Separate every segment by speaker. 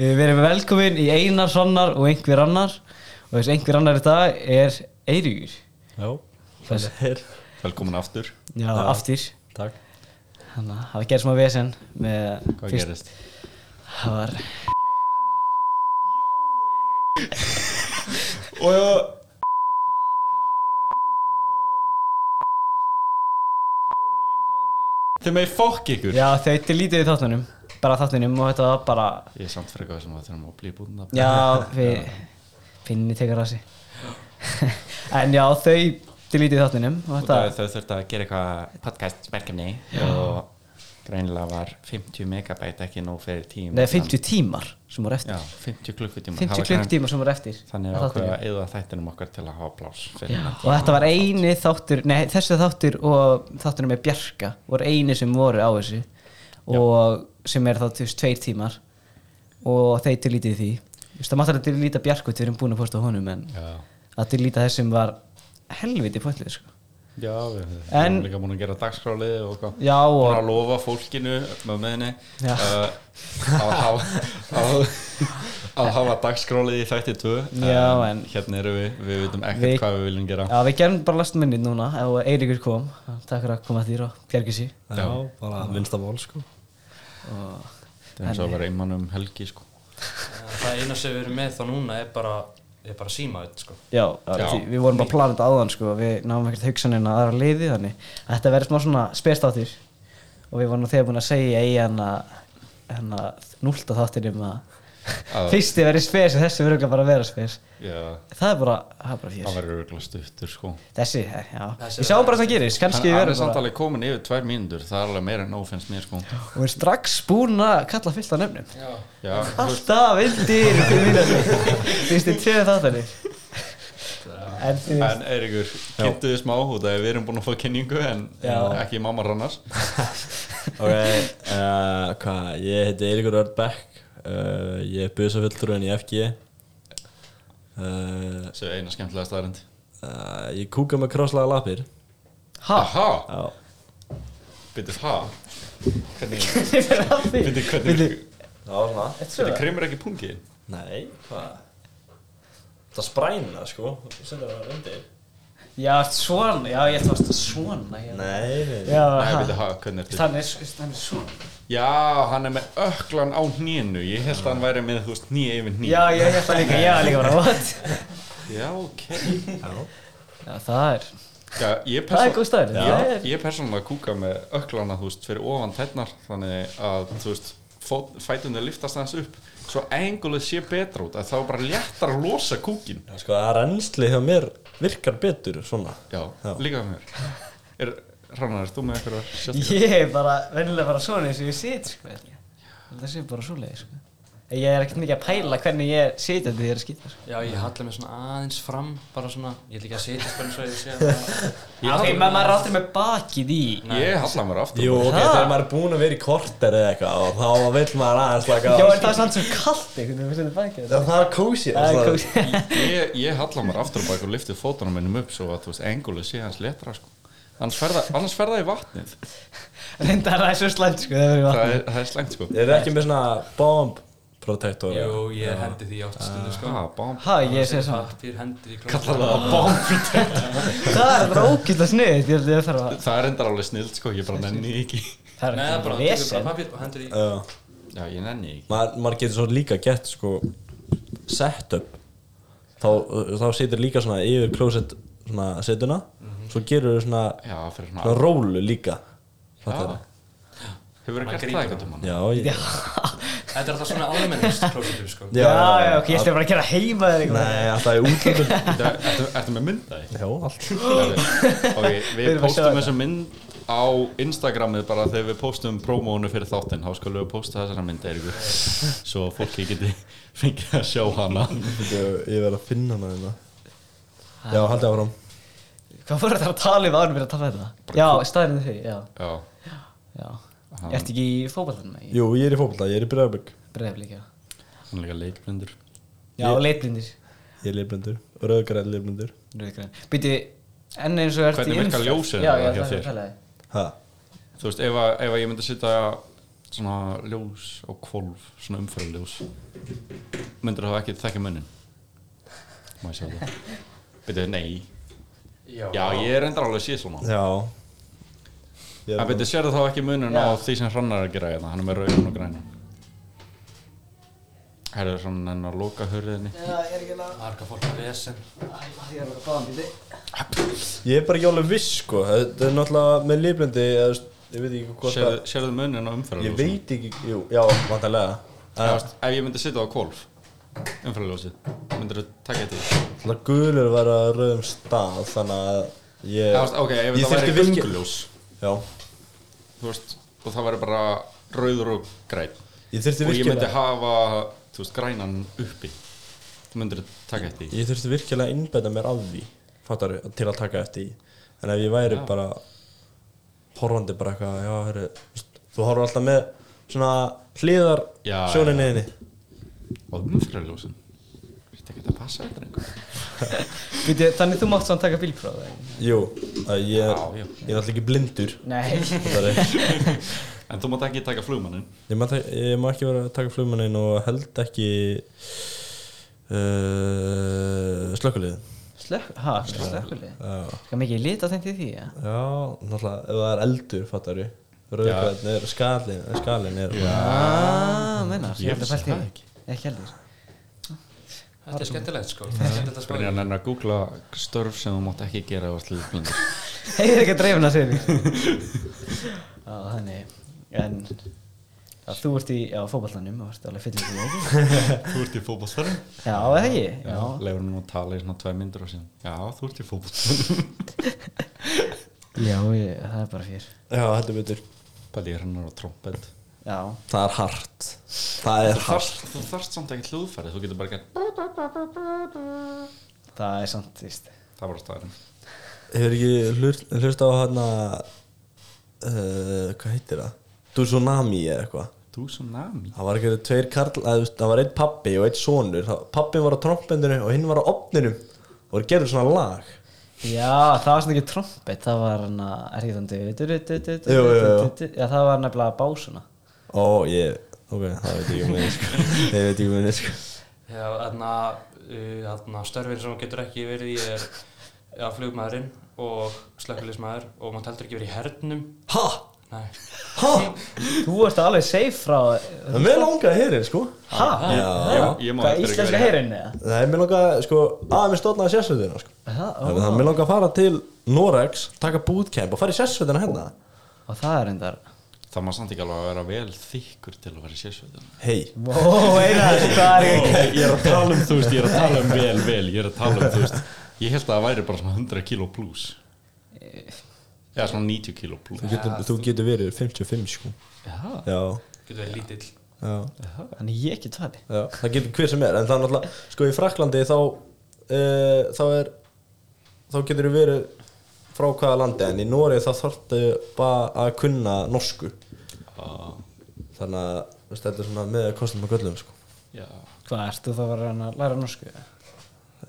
Speaker 1: Við verðum velkomin í einar sonnar og einhver annar og þessi einhver annar í dag er Eiríkur
Speaker 2: Já,
Speaker 1: Þess-
Speaker 2: það er
Speaker 3: Velkomin aftur
Speaker 1: Já, Já. aftur
Speaker 2: Takk,
Speaker 1: Þannig að það gerði smá vesen með
Speaker 3: Hvað
Speaker 1: fyrst-
Speaker 3: gerist?
Speaker 1: Það var
Speaker 3: Og já Þið megið fokk ykkur
Speaker 1: Já, þau til lítið í þáttunum bara þáttunum og þetta var bara
Speaker 3: Ég er samt frekar sem að þurfum að bli búin að
Speaker 1: Já, við finni tekur rasi En já, þau til lítið í þáttunum og
Speaker 3: Út af
Speaker 1: þetta
Speaker 3: því Þau þurftu að gera eitthvað podcast merkefni og greinilega var 50 megabæt ekki nóg fyrir tíma
Speaker 1: Nei, 50 tímar sem voru eftir
Speaker 3: Já, 50
Speaker 1: 50
Speaker 3: klukkutíma Það var grein-
Speaker 1: klukkutímar sem voru eftir af
Speaker 3: Þannig að okkur
Speaker 1: þáttunum.
Speaker 3: að eða þættinum okkar til að hafa plás
Speaker 1: og þetta var eini þáttur nei, þessi þáttur og þáttur með Bjarka voru eini sem voru á þessu og sem er þá þú veist tveir tímar og þeir til lítið í því Þú veist, það máttalega til lítið Bjarku við erum búin að posta á honum en
Speaker 3: Já,
Speaker 1: að til lítið þessum var helviti pointlið sko.
Speaker 3: já við við
Speaker 1: En-
Speaker 3: erum líka múin að gera dagskráli og hvað
Speaker 1: já
Speaker 3: Búin
Speaker 1: og
Speaker 3: að lofa fólkinu með meðinni
Speaker 1: Já.
Speaker 3: uh, að, hafa, að, að hafa dagskráli í þætti 2
Speaker 1: Já, en-
Speaker 3: hérna erum við, við veitum ekkert
Speaker 1: Við-
Speaker 3: hvað við viljum gera
Speaker 1: já, við gerum bara last minnið núna og Eiríkur kom, takk fyrir að koma þér og bjargi sér
Speaker 2: já, bara vinstamál sko
Speaker 1: og
Speaker 3: það er eins og að vera einmann um helgi sko.
Speaker 4: Það eina sem við erum með þá núna er bara, er bara símaðið sko.
Speaker 1: já,
Speaker 3: Já.
Speaker 1: Því, við vorum bara planið áðan sko, við náum ekkert hugsanina aðra liði þannig að þetta verður smá svona spesdáttir og við vorum nú þegar búin að segja í hann að núlta þáttinum að
Speaker 3: Að-
Speaker 1: fyrsti verið spes og þessi verður bara að vera spes
Speaker 3: já,
Speaker 1: það er bara, það er bara
Speaker 3: það
Speaker 1: fjör
Speaker 3: verður örugglega stuttur sko.
Speaker 1: þessi, eh, já,
Speaker 4: Þessi
Speaker 1: við sjáum bara hvað það gerist kannski
Speaker 3: hann hann
Speaker 1: verður
Speaker 3: er
Speaker 1: bara,
Speaker 3: samt alveg komin yfir tvær mínútur það er alveg meira en ófinnst mér sko.
Speaker 1: og við erum strax búin að kalla fyllt af nefnum
Speaker 3: já,
Speaker 1: alltaf vildir ykkur mínúti fyrstu tveið þáttinni en þú veist
Speaker 3: en Eiríkur kynntuðu smá út að við erum búin að fá kynningu en
Speaker 1: Já.
Speaker 3: ekki mamma rannars
Speaker 2: Ok, uh, hvað, ég heiti Eiríkur Örn Beck uh, Ég er busafulltrúin í FG uh,
Speaker 3: sem er eina skemmtilega staðarind
Speaker 2: uh, Ég kúka með krosslaga lapir
Speaker 1: ha,
Speaker 3: aha,
Speaker 2: Já,
Speaker 3: byrju það hvernig,
Speaker 1: þið fyrir að því
Speaker 3: byrju hvernig
Speaker 2: það var það
Speaker 3: þetta krymur ekki pungin
Speaker 2: Nei, hvað Það spræna sko, sem það var undir
Speaker 1: Já, ert svona, já ég ætla að það svona já.
Speaker 2: Nei, nei, nei.
Speaker 1: Já,
Speaker 3: Nei,
Speaker 1: ha.
Speaker 3: byrju, ha, hvernig ertu
Speaker 1: Þannig er þannig er svona
Speaker 3: Já, hann er með öklan á hnínu Ég held að hann væri með, þú veist, hní yfir hní
Speaker 1: Já, ég held það líka, já líka bara, what?
Speaker 3: Já, ok
Speaker 1: Já, það er,
Speaker 3: Já, ég
Speaker 1: það er
Speaker 3: persón-
Speaker 1: góð staður
Speaker 3: Já, Ég persónulega kúka með öklana, þú veist, fyrir ofan tætnar Þannig að, þú veist, fót- fæturnir liftast aðeins upp Svo engulið sé betra út að þá er bara léttar að losa kúkin
Speaker 2: Já, Sko, að rennsli hjá mér virkar betur svona
Speaker 3: Já,
Speaker 2: Já.
Speaker 3: líka með mér er, Rannar, er þú með eitthvað sérstaklega?
Speaker 1: Ég er bara, venjulega bara svona eins og ég sit, sko held ég. Það sé bara svoleiði, sko Ég er ekkert mikið að pæla hvernig ég er sitjandi þegar ég er að skýta, sko
Speaker 4: Já, ég hallar mig svona aðeins fram, bara svona, ég ætla ekki að setja spennum svo ég sé að bara-
Speaker 3: Já.
Speaker 1: Ok, menn maður er aldrei með bakið í
Speaker 3: Ég halla mér aftur
Speaker 2: Jú, ok,
Speaker 1: Ha?
Speaker 2: þegar maður er búinn að vera í korter eða eitthvað og þá vill maður aðeins slaka á
Speaker 1: Já, en það
Speaker 2: sko.
Speaker 1: er samt svo kalt, einhvern veginn, við setjum bakið
Speaker 2: Já, það er kósi
Speaker 1: Það er kósi
Speaker 3: Ég, ég halla mér aftur á bak og lyfti fótunum minnum upp svo að, þú veist, engulið sé hans léttra, sko Annars ferða, annars ferða í vatnið
Speaker 1: Reyndar það er svo slæmt, sko, það verður vatn
Speaker 3: það er, það er slengt sko
Speaker 2: Ég er ekki með svona bomb protector
Speaker 4: Jú, ég hendi því átt stundu sko
Speaker 3: ah, bám.
Speaker 1: Ha, ég sé saman
Speaker 4: Pappír hendi því
Speaker 1: Það er bara ógæslega sniðið, ég held ég að þarf að
Speaker 3: það er endar alveg snild sko, ég bara nenni því ekki
Speaker 1: Það
Speaker 4: Nei,
Speaker 1: er
Speaker 4: það
Speaker 1: ekki
Speaker 4: bara,
Speaker 1: bara
Speaker 4: tekur bara
Speaker 1: vesen
Speaker 4: pappír og hendi því
Speaker 2: Já,
Speaker 3: já ég nenni því ekki
Speaker 2: maður, maður getur svo líka gett sko setup þá, þá setur líka svona yfir closet svona setuna svo gerur þau svona,
Speaker 3: já fyrir
Speaker 2: svona
Speaker 3: svona
Speaker 2: rólu líka Fattar
Speaker 3: Já. hefur verið
Speaker 4: Hann
Speaker 3: gert það
Speaker 4: grípur
Speaker 3: eitthvað
Speaker 4: hann.
Speaker 3: tímann?
Speaker 2: Já,
Speaker 1: Já,
Speaker 2: ég,
Speaker 4: Þetta er alltaf svona almennist klósitur sko
Speaker 2: Já.
Speaker 1: já, já, ok, ég ætla bara að gera heima þér eitthvað
Speaker 2: nei, alltaf í útlöndum
Speaker 3: Þetta- ertu, ertu með myndaði?
Speaker 2: Já, allt
Speaker 3: Okay,
Speaker 1: Við erum
Speaker 3: við
Speaker 1: að sjá
Speaker 3: postum
Speaker 1: þetta.
Speaker 3: þessa mynd á Instagramið bara þegar við postum promónu fyrir þáttinn þá skulum við posta þessara mynd Eiríkur svo fólki geti fengið að sjá hana
Speaker 2: Ég, ég verð að finna hana hérna Já, haldið áfram
Speaker 1: Hvað voru þetta að tala um árum fyrir að tala um þetta? Já, staðurinn þau, já,
Speaker 3: já,
Speaker 1: já
Speaker 3: Hann-
Speaker 1: Ertu ekki í fótballtunum, ekki?
Speaker 2: Jú, ég er í fótbolta, ég er í Breiðarbygg
Speaker 1: Breiðaflik, já
Speaker 3: hann er líka leikblindur
Speaker 1: Já, og leitblindir,
Speaker 2: Ég er leifblindur, rauðgræð leifblindur
Speaker 1: rauðgræn Býti, enn eins og ertu
Speaker 3: Hvernig
Speaker 1: í
Speaker 3: virka
Speaker 1: umferð.
Speaker 3: ljósin
Speaker 1: Já,
Speaker 3: þegar
Speaker 1: já,
Speaker 3: hjá
Speaker 1: um það er
Speaker 3: þér?
Speaker 1: að pæla þig
Speaker 2: Ha?
Speaker 3: þú veist ef, að, ef að ég myndi setja svona ljós og kvolf svona umfyrirljós myndir þá ekki þekka munnin má ég sjá það byrju, nei, já ég er endur alveg síð svona
Speaker 2: Já Ég
Speaker 3: en
Speaker 2: er
Speaker 3: byrju, sérðu þá ekki munnin á því sem hrannar er að gera hérna, hann er með rauðin og græn herðu svona enn að loka hurðinni
Speaker 1: ég er ekki að
Speaker 4: Marga fólk að vesen
Speaker 1: Ég er að báða mér
Speaker 2: Ég er bara ekki alveg viss sko Þetta er náttúrulega með lifblindi eða, þú veist, Ég veit ekki hvort
Speaker 3: sérðu, sérðu munnin á
Speaker 2: það Ég
Speaker 3: umfyrirljósum
Speaker 2: veit ekki, jú, já, vantarlega Það er
Speaker 3: ef ég myndi sitja á kvolf umfyrirljósið, myndir þú taka eftir því?
Speaker 2: náttúrulega gulur að vera á rauðum stað Þannig að ég
Speaker 3: Já, veist, ok, ef
Speaker 2: Ég
Speaker 3: það væri
Speaker 2: þyrfti virki-
Speaker 3: gönguljós
Speaker 2: Já
Speaker 3: þú veist, og það væri bara rauður og græn
Speaker 2: Ég þurfti
Speaker 3: og ég myndi
Speaker 2: virkilega
Speaker 3: hafa, þú veist, grænan uppi þú myndir taka eftir því
Speaker 2: Ég þurfti virkilega að innbæta mér að því Fattar til að taka eftir því En ef ég væri bara Horfandi bara eitthvað Já, heru, þú horfur alltaf með svona hliðar
Speaker 3: Já,
Speaker 2: sjóninni þinni
Speaker 3: og umfyrirljósin þetta ekki að passa þetta einhver
Speaker 1: þetta Þannig þú mátt samt taka bílpróf eða?
Speaker 2: Jú, að ég er,
Speaker 3: Já, já.
Speaker 2: ég er alltaf ekki blindur
Speaker 1: Nei
Speaker 2: Það er
Speaker 3: en þú mátt ekki taka flugmannin
Speaker 2: Ég má, ta- ég má ekki vera að taka flugmannin og held ekki uh, slökkulíð
Speaker 1: Slökk, ha, slökkuleg
Speaker 2: Já,
Speaker 1: Skal mikið lit á þeim til því, ja?
Speaker 2: já náttúrulega ef það er eldur fattar við Rauðkvæðin er skalin, skalin er
Speaker 1: Ah, mennar, ég held að pælt í
Speaker 3: það
Speaker 1: því. Ekki heldur
Speaker 4: Þetta er skemmtilegt sko Þetta er skemmtilegt að spá
Speaker 3: Brynja
Speaker 4: í.
Speaker 3: nennar að googla störf sem þú mátt ekki gera og slíð blindur
Speaker 1: Hei, ég er ekki að dreifna sér Já, þannig En já, Þú ert í, já, fótballanum og ert alveg fyllir því ekki
Speaker 3: þú ert í fótbollsferðin
Speaker 1: Já, eða ekki Já,
Speaker 3: lefur hann að tala í svona tvei myndur og síðan já, þú ert í fótbollsferðin
Speaker 1: já ég, það er bara fyrr
Speaker 2: Já, heldur betur
Speaker 3: bæði ég hennar á trompet
Speaker 1: Já,
Speaker 2: Það er hart Það er hart
Speaker 3: Þarft- þú þarft samt ekki hljóðfæri þú getur bara gert
Speaker 1: það er samt, víst
Speaker 3: það var á staðarinn
Speaker 2: Hefur ekki hlust, hlust á hana uh, Hvað heitir það? Tsunami eða eitthvað
Speaker 3: Tsunami
Speaker 2: Það var ekki tveir karl, að, þú veist, það var einn pappi og einn sonur Pappin var á trompendinu og hinn var á opninum og þeir gerðu svona lag
Speaker 1: Já, það var svona ekki trompet Það var hann að, er ég þannig
Speaker 2: Jú, jú, jú.
Speaker 1: Já, það var nefnilega básuna
Speaker 2: Ó, ég, ok, það veit ég ekki um minni sko. Ég veit ekki um minni sko.
Speaker 4: Já, þarna uh, þarna störfin sem þú getur ekki verið í er Já, flugmaðurinn og slökkulismæður og maður heldur ekki verið í hernum
Speaker 2: Ha,
Speaker 4: Nei,
Speaker 2: ha,
Speaker 1: Þú ert alveg safe frá
Speaker 2: það er mér langaði að heyrin sko
Speaker 1: Ha?
Speaker 2: Já,
Speaker 3: Ég- ég má
Speaker 1: Hvað,
Speaker 3: eftir ekki
Speaker 1: íslenska
Speaker 3: vera í-
Speaker 1: heyrinn eða?
Speaker 2: það er mér langaði, sko, að mér stofnaði sérsveitina sko
Speaker 1: Það,
Speaker 2: Það er mér langaði að fara til Norex, taka bootcamp og fara í sérsveitina hérna
Speaker 1: Og það er endar
Speaker 3: Það maður samt ekki alveg að vera vel þykkur til að vera í sérsveitin
Speaker 2: Hei,
Speaker 1: Ó, einar, það er ekki
Speaker 3: Ég er að tala um, þú veist, ég er að tala um vel, vel Ég er að tala um, þú veist Ég held að það væri bara svona 100 kíló plus Eða svona 90 kíló plus
Speaker 2: þú getur, þú getur verið 55 sko
Speaker 3: Já,
Speaker 2: Já,
Speaker 4: getur verið lítill
Speaker 2: já
Speaker 1: Þannig ég ekki tali
Speaker 2: Já, það getur hver sem er en það er náttúrulega, sko í Fraklandi þá uh, þá er þá getur þú verið frá hvaða landi en í Noregi þá þarftu bara að kunna norsku þannig að þú veist, þetta er svona með kostum og göllum sko
Speaker 3: já
Speaker 1: Hvað, ert þú þá að vera að læra norsku? eða?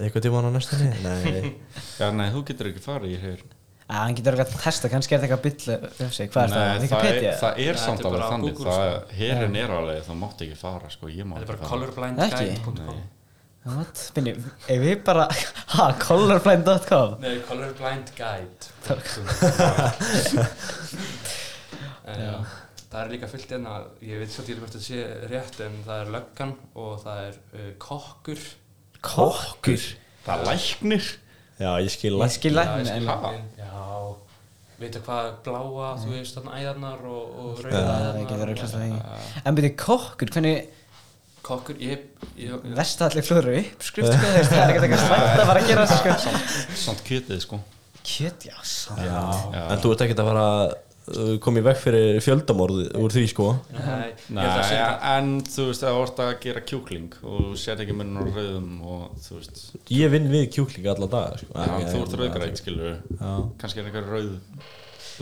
Speaker 2: eitthvað tíma á næstunni? Nei,
Speaker 3: Já, nei, þú getur ekki farið í heyrin
Speaker 1: Að hann getur eitthvað að testa, kannski er þetta eitthvað byll upp sig, hvað er það,
Speaker 3: Nei, það er,
Speaker 1: Wikipedia?
Speaker 3: það er sko.
Speaker 4: Nei,
Speaker 3: samt
Speaker 4: þetta er bara
Speaker 3: alveg
Speaker 4: á
Speaker 3: þannig
Speaker 4: Google,
Speaker 3: Það herin er alveg, það mátt ekki fara, sko Ég má
Speaker 4: Þetta er bara
Speaker 3: ekki fara
Speaker 1: Ekki?
Speaker 4: colorblindguide.com
Speaker 1: What? Minni, ef við bara, ha, colorblind.com
Speaker 4: Nei, colorblindguide.com En já, Eh, Það er líka fullt enna, ég veit svolítið ekki hvort þetta sé rétt en það er löggan og það er uh, kokkur
Speaker 2: kokkur
Speaker 3: Það læknir
Speaker 2: Já, ég skil
Speaker 1: Ég skil
Speaker 4: Já, ég
Speaker 1: lækni,
Speaker 4: skil
Speaker 1: en
Speaker 4: læknin, Já, veitu hvað bláa, þú veist þarna æðarnar og,
Speaker 1: Mm. Sko,
Speaker 4: og rauða
Speaker 1: það
Speaker 4: æðarnar
Speaker 1: getur
Speaker 4: og-
Speaker 1: auðvitað það ekki En byrju, kokkur, hvernig
Speaker 4: Kokkur, ég, ég, ég
Speaker 1: versta allir flóður upp, skrift, sko, þú veist, það er ekkert eitthvað slæmt að fara að gera þessu,
Speaker 3: Samt kjötið, sko
Speaker 1: sko Kjöt, já, sann
Speaker 2: Já. En þú ert ekkert að fara að koma í vekk fyrir fjöldamorði úr því sko
Speaker 4: Nei, ég
Speaker 3: Nei,
Speaker 4: held að segja
Speaker 3: en þú veist, það vorst að gera kjúkling og sér ekki munn á rauðum og þú veist,
Speaker 2: Ég vinn við kjúklinga alla dag sko.
Speaker 3: já,
Speaker 2: Ekki-
Speaker 3: þú ert rauðgræn, skilur kannski er einhver rauð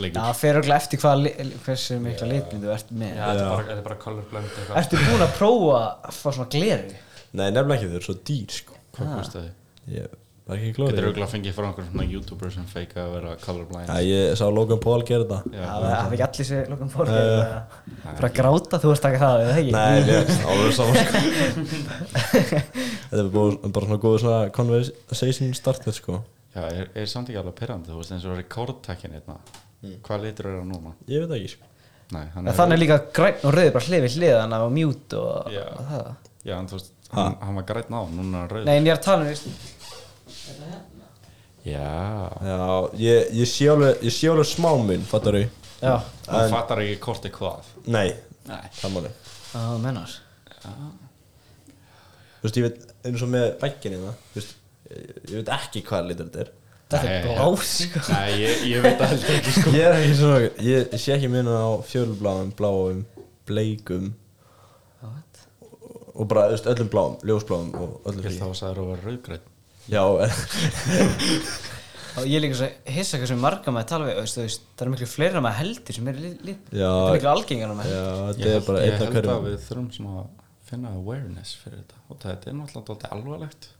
Speaker 1: Já,
Speaker 3: leikur.
Speaker 1: fer okkur eftir hvað, li- hversu mikla litmið þú ert
Speaker 4: Já,
Speaker 1: með
Speaker 4: þetta er bara, þetta er bara colorblind eitthvað
Speaker 1: Ertu búin að prófa að fá svona gleru?
Speaker 2: Nei, nefnilega ekki, þau eru svo dýr sko
Speaker 3: Hvað kostaði?
Speaker 2: Ég var ekki
Speaker 3: Getur
Speaker 2: klórið
Speaker 3: auðvitað að fengið frá einhverjum svona youtuber sem feika að vera colorblind
Speaker 2: Já, ég sá Logan Paul gera þetta
Speaker 3: Já,
Speaker 1: Það hafa ekki allir sér Logan Paul
Speaker 2: Nei.
Speaker 1: Fyrir að gráta, þú varst ekki það, eða ekki?
Speaker 2: Nei, mér áður saman sko Þetta er búið, bara svona góð svona conversation starter sko
Speaker 3: Já, er, er samt ekki alveg pyrrandi, þú veist eins og rekordtækin hérna Hvað litur er hann núna?
Speaker 2: Ég veit það ekki sko
Speaker 3: Nei, hann
Speaker 1: Mm. En Þannig er líka græn og rauði bara hlið við hlið hann og mjút og,
Speaker 3: Já.
Speaker 1: og það
Speaker 3: Já, en þú veist, hann, hann var grætt ná, núna er hann rauð
Speaker 1: Nei, en ég er að tala um, veist
Speaker 3: Já,
Speaker 2: Já, ég, ég sé alveg, ég sé alveg smá minn, fattar þau?
Speaker 1: Já,
Speaker 3: hann fattar ekki hvort er hvað
Speaker 2: Nei,
Speaker 3: Nei
Speaker 2: það máli
Speaker 1: það mennar
Speaker 2: Þú veist, ég veit, eins og með bækkinni það Þú veist, ég, ég veit ekki hvað litur þetta er
Speaker 1: Þetta
Speaker 3: Nei.
Speaker 1: er blás, sko
Speaker 3: Nei, ég, ég veit að heldur ekki sko
Speaker 2: Ég er ekki svona, ég sé ekki minna á fjölubláum, bláum, bleikum Og bara, þú veist, öllum bláum, ljósbláum og öllum
Speaker 3: Ég
Speaker 2: því
Speaker 3: þá að það er að vera rauðgrætt
Speaker 2: Já,
Speaker 1: Og ég er líka svo hissa hvað sem marga maður tala við veist, þú veist, Það eru miklu fleira maður heldur sem eru lít
Speaker 2: Já.
Speaker 1: Það eru miklu algengar maður
Speaker 2: já,
Speaker 1: heldur
Speaker 2: þetta
Speaker 3: Ég
Speaker 2: er bara
Speaker 3: ég
Speaker 2: einn af
Speaker 3: held að
Speaker 2: hverjum
Speaker 3: við þurfum svona að finna awareness fyrir þetta Og þetta er náttúrulega dálítið alvarlegt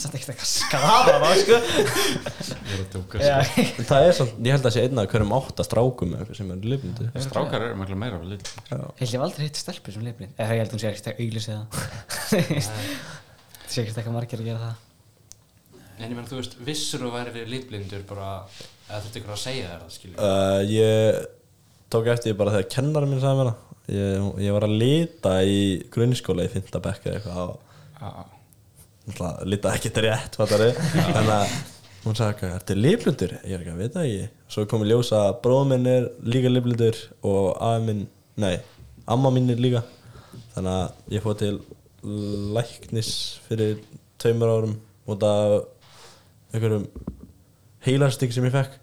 Speaker 1: Þetta er ekkert eitthvað skafa maður, sko
Speaker 3: Ég er að tjóka
Speaker 1: Já,
Speaker 3: sko
Speaker 2: En Það er samt, ég held að það sé einn af hverjum átta strákum eða eitthvað sem er lifnandi
Speaker 3: Strákar eru miklu meira við litur
Speaker 1: Held ég hef aldrei hitt stelpur sem lifnir Eða ég held hún sé ekkert að auglýsa það Það sé ekkert eitthvað margir að gera það
Speaker 4: En ég meina, þú veist, vissur þú væri litblindur bara, eða þurfti ykkur að segja þér það, skilur
Speaker 2: uh, Ég tók eftir því bara þegar kennarinn minn sagði mér það ég, ég var að lita í grunnskóla í fynda bekka eitthvað og
Speaker 3: Já
Speaker 2: náttúrulega lita ekki þetta rétt fattari en að hún sagði eitthvað, ertu liflundur? Ég er ekki að vita ekki Svo kom í ljós að bróðum minn er líka liflundur og afi minn, nei, amma mín er líka Þannig að ég fór til læknis fyrir tveimur árum út af einhverjum heilarstík sem ég fekk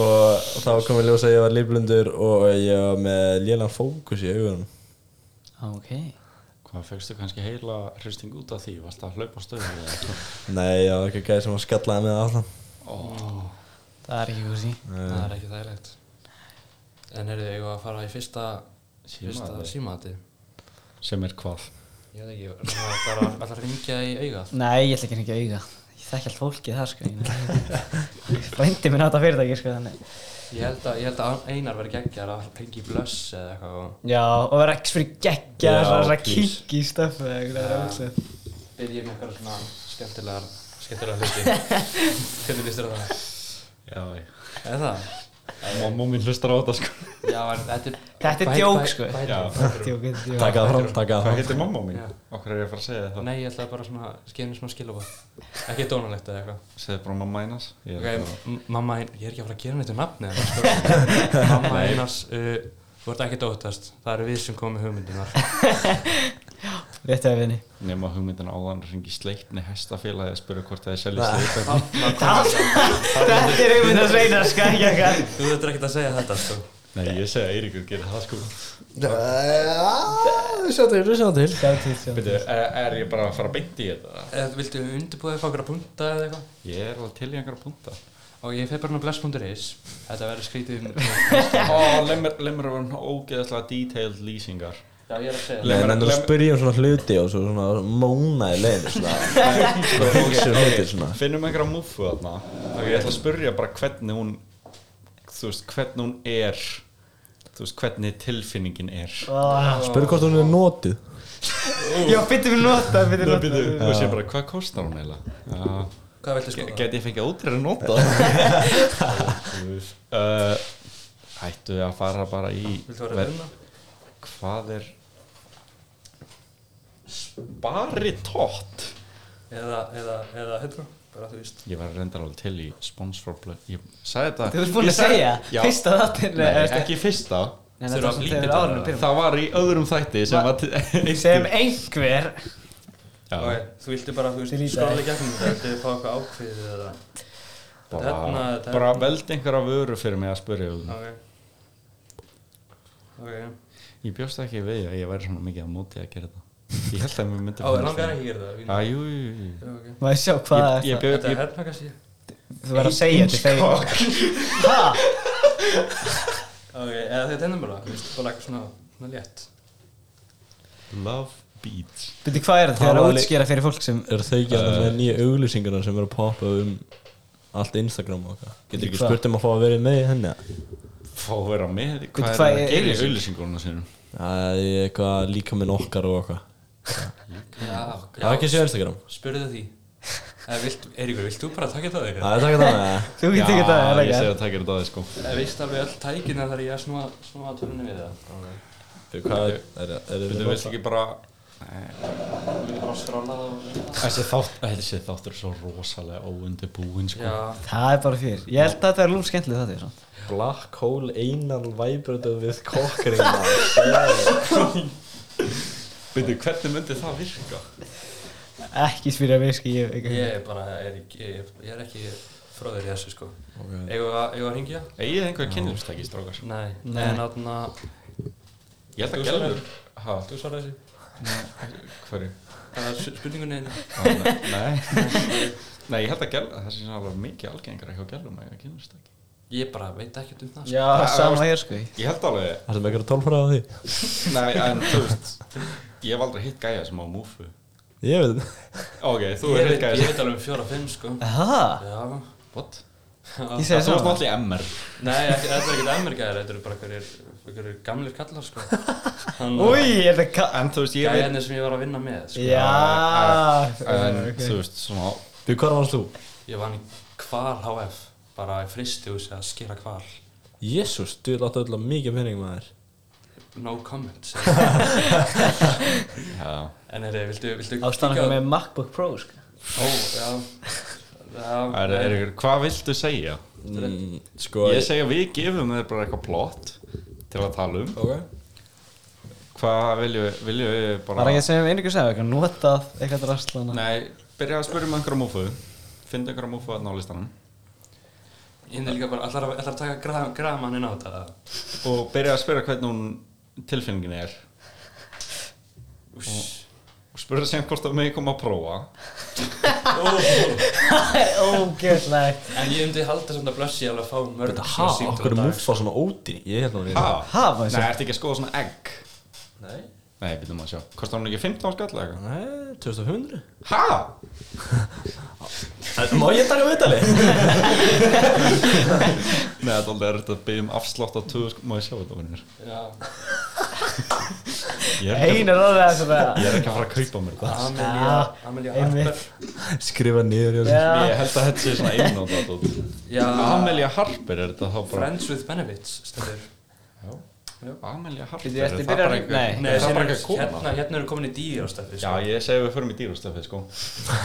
Speaker 2: og þá kom í ljós að ég var liflundur og ég var með lélan fókus í augunum
Speaker 1: Á, Ok
Speaker 3: Hvað fegstu kannski heila hristing út af því? Varst að hlaupa á stöðu eða eitthvað?
Speaker 2: Nei, já, ekki gæði sem að skallaði með allan
Speaker 1: Það er ekki húsi
Speaker 4: Það er ekki þægilegt En eru þið að fara í fyrsta fyrsta símati?
Speaker 3: Sem er hvað?
Speaker 4: Ég veit ekki, það er bara alltaf að ringja í augað
Speaker 1: Nei, ég ætla ekki að hringja í auga Ég þekki allt fólkið það sko Bændi minn á þetta fyrirtæki sko þannig
Speaker 4: Ég held að, ég held að Einar verði geggjar að ringi í blöss eða eitthvað og
Speaker 1: Já, og vera ekki fyrir geggja
Speaker 2: Já,
Speaker 1: Það er að
Speaker 2: please.
Speaker 1: kikki í stöfu eða eitthvað, það er ógeðslegt.
Speaker 4: byrja með eitthvað svona skemmtilegar skemmtilegar hluti Hvernig líst þér á það?
Speaker 3: Já, ég
Speaker 4: Er það?
Speaker 3: Mamma mín hlustar á þetta sko
Speaker 4: Já, en þetta
Speaker 1: Þetta er
Speaker 4: er hvað heitir-
Speaker 1: djók,
Speaker 4: hvað-
Speaker 1: sko.
Speaker 4: hvað heitir-
Speaker 3: Já.
Speaker 4: hvað heitir-
Speaker 1: Djók, djók, djók.
Speaker 2: Takk að fram, takk að
Speaker 3: Hvað
Speaker 2: fram
Speaker 3: heitir mamma mín?
Speaker 4: Já.
Speaker 3: Okkur er ég að fara að segja þetta
Speaker 4: Nei, ég ætlaði bara svona að skefna svona skilabóð Ekki dónalegt eða eitthvað
Speaker 3: Segðu bara mamma einas Ég er
Speaker 4: Ok,
Speaker 3: bara-
Speaker 4: m- mamma Einars, ég er ekki að fara að gera neitt um nafni sko. Mamma Einars, uh, þú ert ekki dóttast Það eru við sem komum með hugmyndunar
Speaker 1: Rétt að vinni
Speaker 3: Nema hugmyndin áðan ringi sleipni hestafélagi að spyrja hvort það er selja sleipni
Speaker 1: Þetta er einmitt að sveina sko ekki eitthvað
Speaker 4: Þú ert ekki að segja þetta sko.
Speaker 3: Nei, ég segi að Eiríkur gerir það sko
Speaker 2: Sjá til, sjá til
Speaker 1: Sjá til, sjá til
Speaker 3: Byrju, er, er ég bara að fara að beinti í þetta?
Speaker 4: Eða Eh, Viltu undirbúið eitthvað að punta eða eitthvað?
Speaker 3: Ég er alveg til í einhverja punta
Speaker 4: Og ég fer bara með bless.is Þetta verður skrítið um
Speaker 3: Ó, lemur lemur að vera ógeðslega detailed lýsingar
Speaker 4: Já, ég er að segja
Speaker 2: Nei,
Speaker 3: Lemur-
Speaker 2: en þú
Speaker 3: lemur-
Speaker 2: spyrjum um svona hluti og svo svona móna í leiðinu svona
Speaker 3: Sko,
Speaker 2: Svona hugsun hluti svona
Speaker 3: Finnum einhverja múfu þarna og ég ætla að spyrja bara hvernig hún þú veist, hvernig hún er þú veist, hvernig tilfinningin er
Speaker 2: Spyrjum hvort hún er notið
Speaker 1: Já, byttu mér nota, byttu
Speaker 3: Það
Speaker 1: nota
Speaker 3: býtu, og sé bara, hvað kostar hún eiginlega?
Speaker 4: Hvað viltu
Speaker 3: Ge-
Speaker 4: skoða?
Speaker 3: Gæti ég fengið ótrýra nota? uh, hættu að fara bara í
Speaker 4: Viltu hérna? vera að vinna?
Speaker 3: Hvað er Sparitótt?
Speaker 4: Eða, eða, eða, hérna Bara þú víst
Speaker 3: Ég var reyndar alveg til í sponsforblöð Ég sagði þetta
Speaker 1: Þú ert búin
Speaker 3: Ég
Speaker 1: að
Speaker 3: sagði-
Speaker 1: segja
Speaker 3: Já,
Speaker 1: Fyrsta þáttir
Speaker 3: nei, ekki fyrsta
Speaker 1: Nei, þetta
Speaker 4: Þurfa
Speaker 1: var
Speaker 4: að
Speaker 1: svona
Speaker 4: flýta
Speaker 1: þegar árunum byrjum
Speaker 3: Það var í öðrum þætti sem var til-
Speaker 1: Sem einhver
Speaker 3: Já,
Speaker 4: Ok, þú viltu bara, þú
Speaker 1: Til í dag.
Speaker 4: víst, skrolla í gegnum þetta Viltu fá eitthvað ákveðið eða Þarna,
Speaker 3: bara,
Speaker 4: þetta-
Speaker 3: bara veldi einhverja vöru fyrir mig að spyrja um
Speaker 4: Ok Ok
Speaker 3: Ég bjóst ekki við að ég væri svona mikið á móti að gera þetta Ég held að mér myndi
Speaker 4: Á, er langar ekki að gera það?
Speaker 3: Já, jú, jú, jú
Speaker 4: Já, ok.
Speaker 1: Má ég sjá hvað
Speaker 3: Ég-
Speaker 1: það
Speaker 3: ég
Speaker 1: er
Speaker 3: bjó-
Speaker 4: Þetta er hérna kannski
Speaker 1: það Þú verður að segja þetta þegar
Speaker 4: Ok, eða þetta ennum bara, þú veist, bara eitthvað svona, svona létt
Speaker 3: Love Beats
Speaker 1: Byrju, hvað er þetta? Þegar
Speaker 3: Sko.
Speaker 2: Það
Speaker 1: að
Speaker 2: var lí-
Speaker 1: útskýra fyrir fólk sem
Speaker 2: Er það ekki alltaf með nýja auglýsingarna sem eru að poppa um allt Instagram og okkar Getur ekki
Speaker 1: Hvað?
Speaker 2: spurt um að fá að vera með í henni
Speaker 3: Fá að vera með,
Speaker 1: Veitu,
Speaker 3: hvað
Speaker 1: hvað
Speaker 3: er það
Speaker 1: er
Speaker 3: að gera í
Speaker 1: auglýsing?
Speaker 3: auðlýsingunum sínum?
Speaker 2: Það er eitthvað líka minn okkar og okkar Það er
Speaker 4: Já,
Speaker 2: ekki sér Instagram
Speaker 4: spurðu því Eða vilt, Eiríkur, vilt þú bara taka það eitthvað?
Speaker 2: Það er takk að það með
Speaker 1: Þú getur ekki það,
Speaker 3: Já,
Speaker 1: eða
Speaker 3: ég
Speaker 1: ekki?
Speaker 3: segi að taka þetta aðeins sko
Speaker 4: Eða veist alveg öll tækina þar ég að snúa, snúa tölunni við það?
Speaker 2: Fyrir hvað er, er, er,
Speaker 3: Þú
Speaker 2: er
Speaker 3: veist ekki bara
Speaker 4: Við bara skrála það og...
Speaker 3: Þessi þátt- þessi þáttur er svo rosalega óundibúin sko
Speaker 4: Já,
Speaker 1: Það er bara fyrir Ég held að þetta er lúm skemmtileg það því
Speaker 2: Black Hole Anal Vibrator with Cockring
Speaker 3: Veitu, hvernig myndi það virka?
Speaker 1: Ekki spyrja mig, sko ég, ekki.
Speaker 4: ég er bara, er ekki, ég, ég er ekki fróður í þessu sko okay. Eigum við að- eigum við að hringja?
Speaker 3: Egið þið einhverja kynlífstæki, strákar?
Speaker 4: Nei,
Speaker 1: Nei.
Speaker 4: en átna,
Speaker 3: Ég held
Speaker 4: Þú
Speaker 3: að
Speaker 4: svarar.
Speaker 3: gelur Ha,
Speaker 4: þú svarar þessu
Speaker 3: hverju?
Speaker 4: Það er spurningunni einu
Speaker 3: Ah, ne- Nei Nei, ég held að gelur, það sé alveg mikið algengara hjá gelum að ég kynlífstæki
Speaker 4: Ég bara veit ekki um það sko.
Speaker 1: Já,
Speaker 3: Það-
Speaker 1: sama hér, sko
Speaker 3: Ég held alveg
Speaker 2: Það sem ekki er að tólfara á því
Speaker 3: Nei, en þú veist Ég hef aldrei hitt gæja sem á múfu
Speaker 2: Ég veit
Speaker 3: Ok, þú
Speaker 4: Ég
Speaker 3: er hitt
Speaker 4: veit,
Speaker 3: gæja
Speaker 4: ég
Speaker 3: sem
Speaker 4: veit alveg um fjóra fimm sko
Speaker 1: Það?
Speaker 4: Já
Speaker 3: What?
Speaker 1: Ég
Speaker 3: Þú
Speaker 1: segi
Speaker 3: varst
Speaker 1: sama
Speaker 3: náttúrulega í MR
Speaker 4: Nei, ekki, þetta er ekkert ameríkaðir, þetta eru bara hverjir, hverjir gamlir kallar sko Þannig
Speaker 1: Úi, er þetta ka...
Speaker 3: En þú veist, ég veit
Speaker 4: gæðinni sem ég var að vinna með sko.
Speaker 1: Já
Speaker 3: En
Speaker 1: ok.
Speaker 3: þú veist, svona
Speaker 2: Fyrir hvað varst þú?
Speaker 4: Ég vann í Kval HF, bara í fristihúsi að skera kval
Speaker 2: Jésús, þú er alltaf öll að mikið penning maður
Speaker 4: No comment
Speaker 3: Já
Speaker 4: En er, viltu, viltu
Speaker 1: Ástæðan okkur með MacBook Pro, sko
Speaker 4: Ó, já Já,
Speaker 3: Er, er, er, hvað viltu segja?
Speaker 2: mm, Sko
Speaker 3: Ég segja við gefum þér bara eitthvað plott til að tala um
Speaker 2: Ok
Speaker 3: Hvað viljum við, viljum við bara
Speaker 1: Var ekki að segja um einhverjum segja eitthvað Notað eitthvað drastlana
Speaker 3: Nei, byrja að spyrja um einhverja múfu Fyndu einhverja múfu að ná listanum
Speaker 4: Ég er líka bara, allar, að- allar að taka gra, gramann inn á þetta
Speaker 3: Og byrja að spyrja hvernig hún tilfinningin er
Speaker 4: Úss
Speaker 3: Mm. Og spyrja sem hvort það megi koma að prófa
Speaker 1: Ógjörlega
Speaker 4: En ég myndi halda samt að blössi alveg að fá mörg
Speaker 2: Þetta,
Speaker 4: svona
Speaker 2: ha,
Speaker 4: símtöl á
Speaker 2: okkur er
Speaker 4: dag.
Speaker 2: múfa svona óti Ég held nú að
Speaker 3: Ha?
Speaker 1: Ha, maður
Speaker 3: Nei,
Speaker 1: sé-
Speaker 3: ertu ekki að skoða svona egg?
Speaker 4: Nei
Speaker 3: Nei, byrjum að sjá Kostar hún ekki 15 skall eða eitthvað?
Speaker 2: Nei, 2500
Speaker 3: Ha?
Speaker 2: Má ég um taka viðtali?
Speaker 3: Nei, þetta er aldrei erfitt að byrja um afslátt á 20 skall Má ég sjá þetta, vinnir?
Speaker 4: Já
Speaker 3: Ég er ekki,
Speaker 1: Einar orðið að svona
Speaker 3: ég er ekki að fara að kaupa mér það
Speaker 4: Amelía Amelía
Speaker 1: Einmitt.
Speaker 4: Harper
Speaker 2: Skrifa niður hjá sér.
Speaker 1: Já
Speaker 3: Ég held að þetta sé svona einnóta dót.
Speaker 4: Já
Speaker 3: Amelia Harper er þetta þá bara
Speaker 4: Friends with Benefits Stendur
Speaker 3: Já. Amelia Harper
Speaker 1: Bíddu,
Speaker 3: er
Speaker 1: ertu
Speaker 3: það
Speaker 1: byrjar-
Speaker 3: bara einhver
Speaker 1: Nei.
Speaker 4: Nei,
Speaker 3: það er
Speaker 4: sem
Speaker 3: bara
Speaker 4: er
Speaker 3: ekki að koma
Speaker 4: Hérna, hérna eru komin í sko. dýr á stefni
Speaker 3: Já, ég segi að við förum í dýrastöfi sko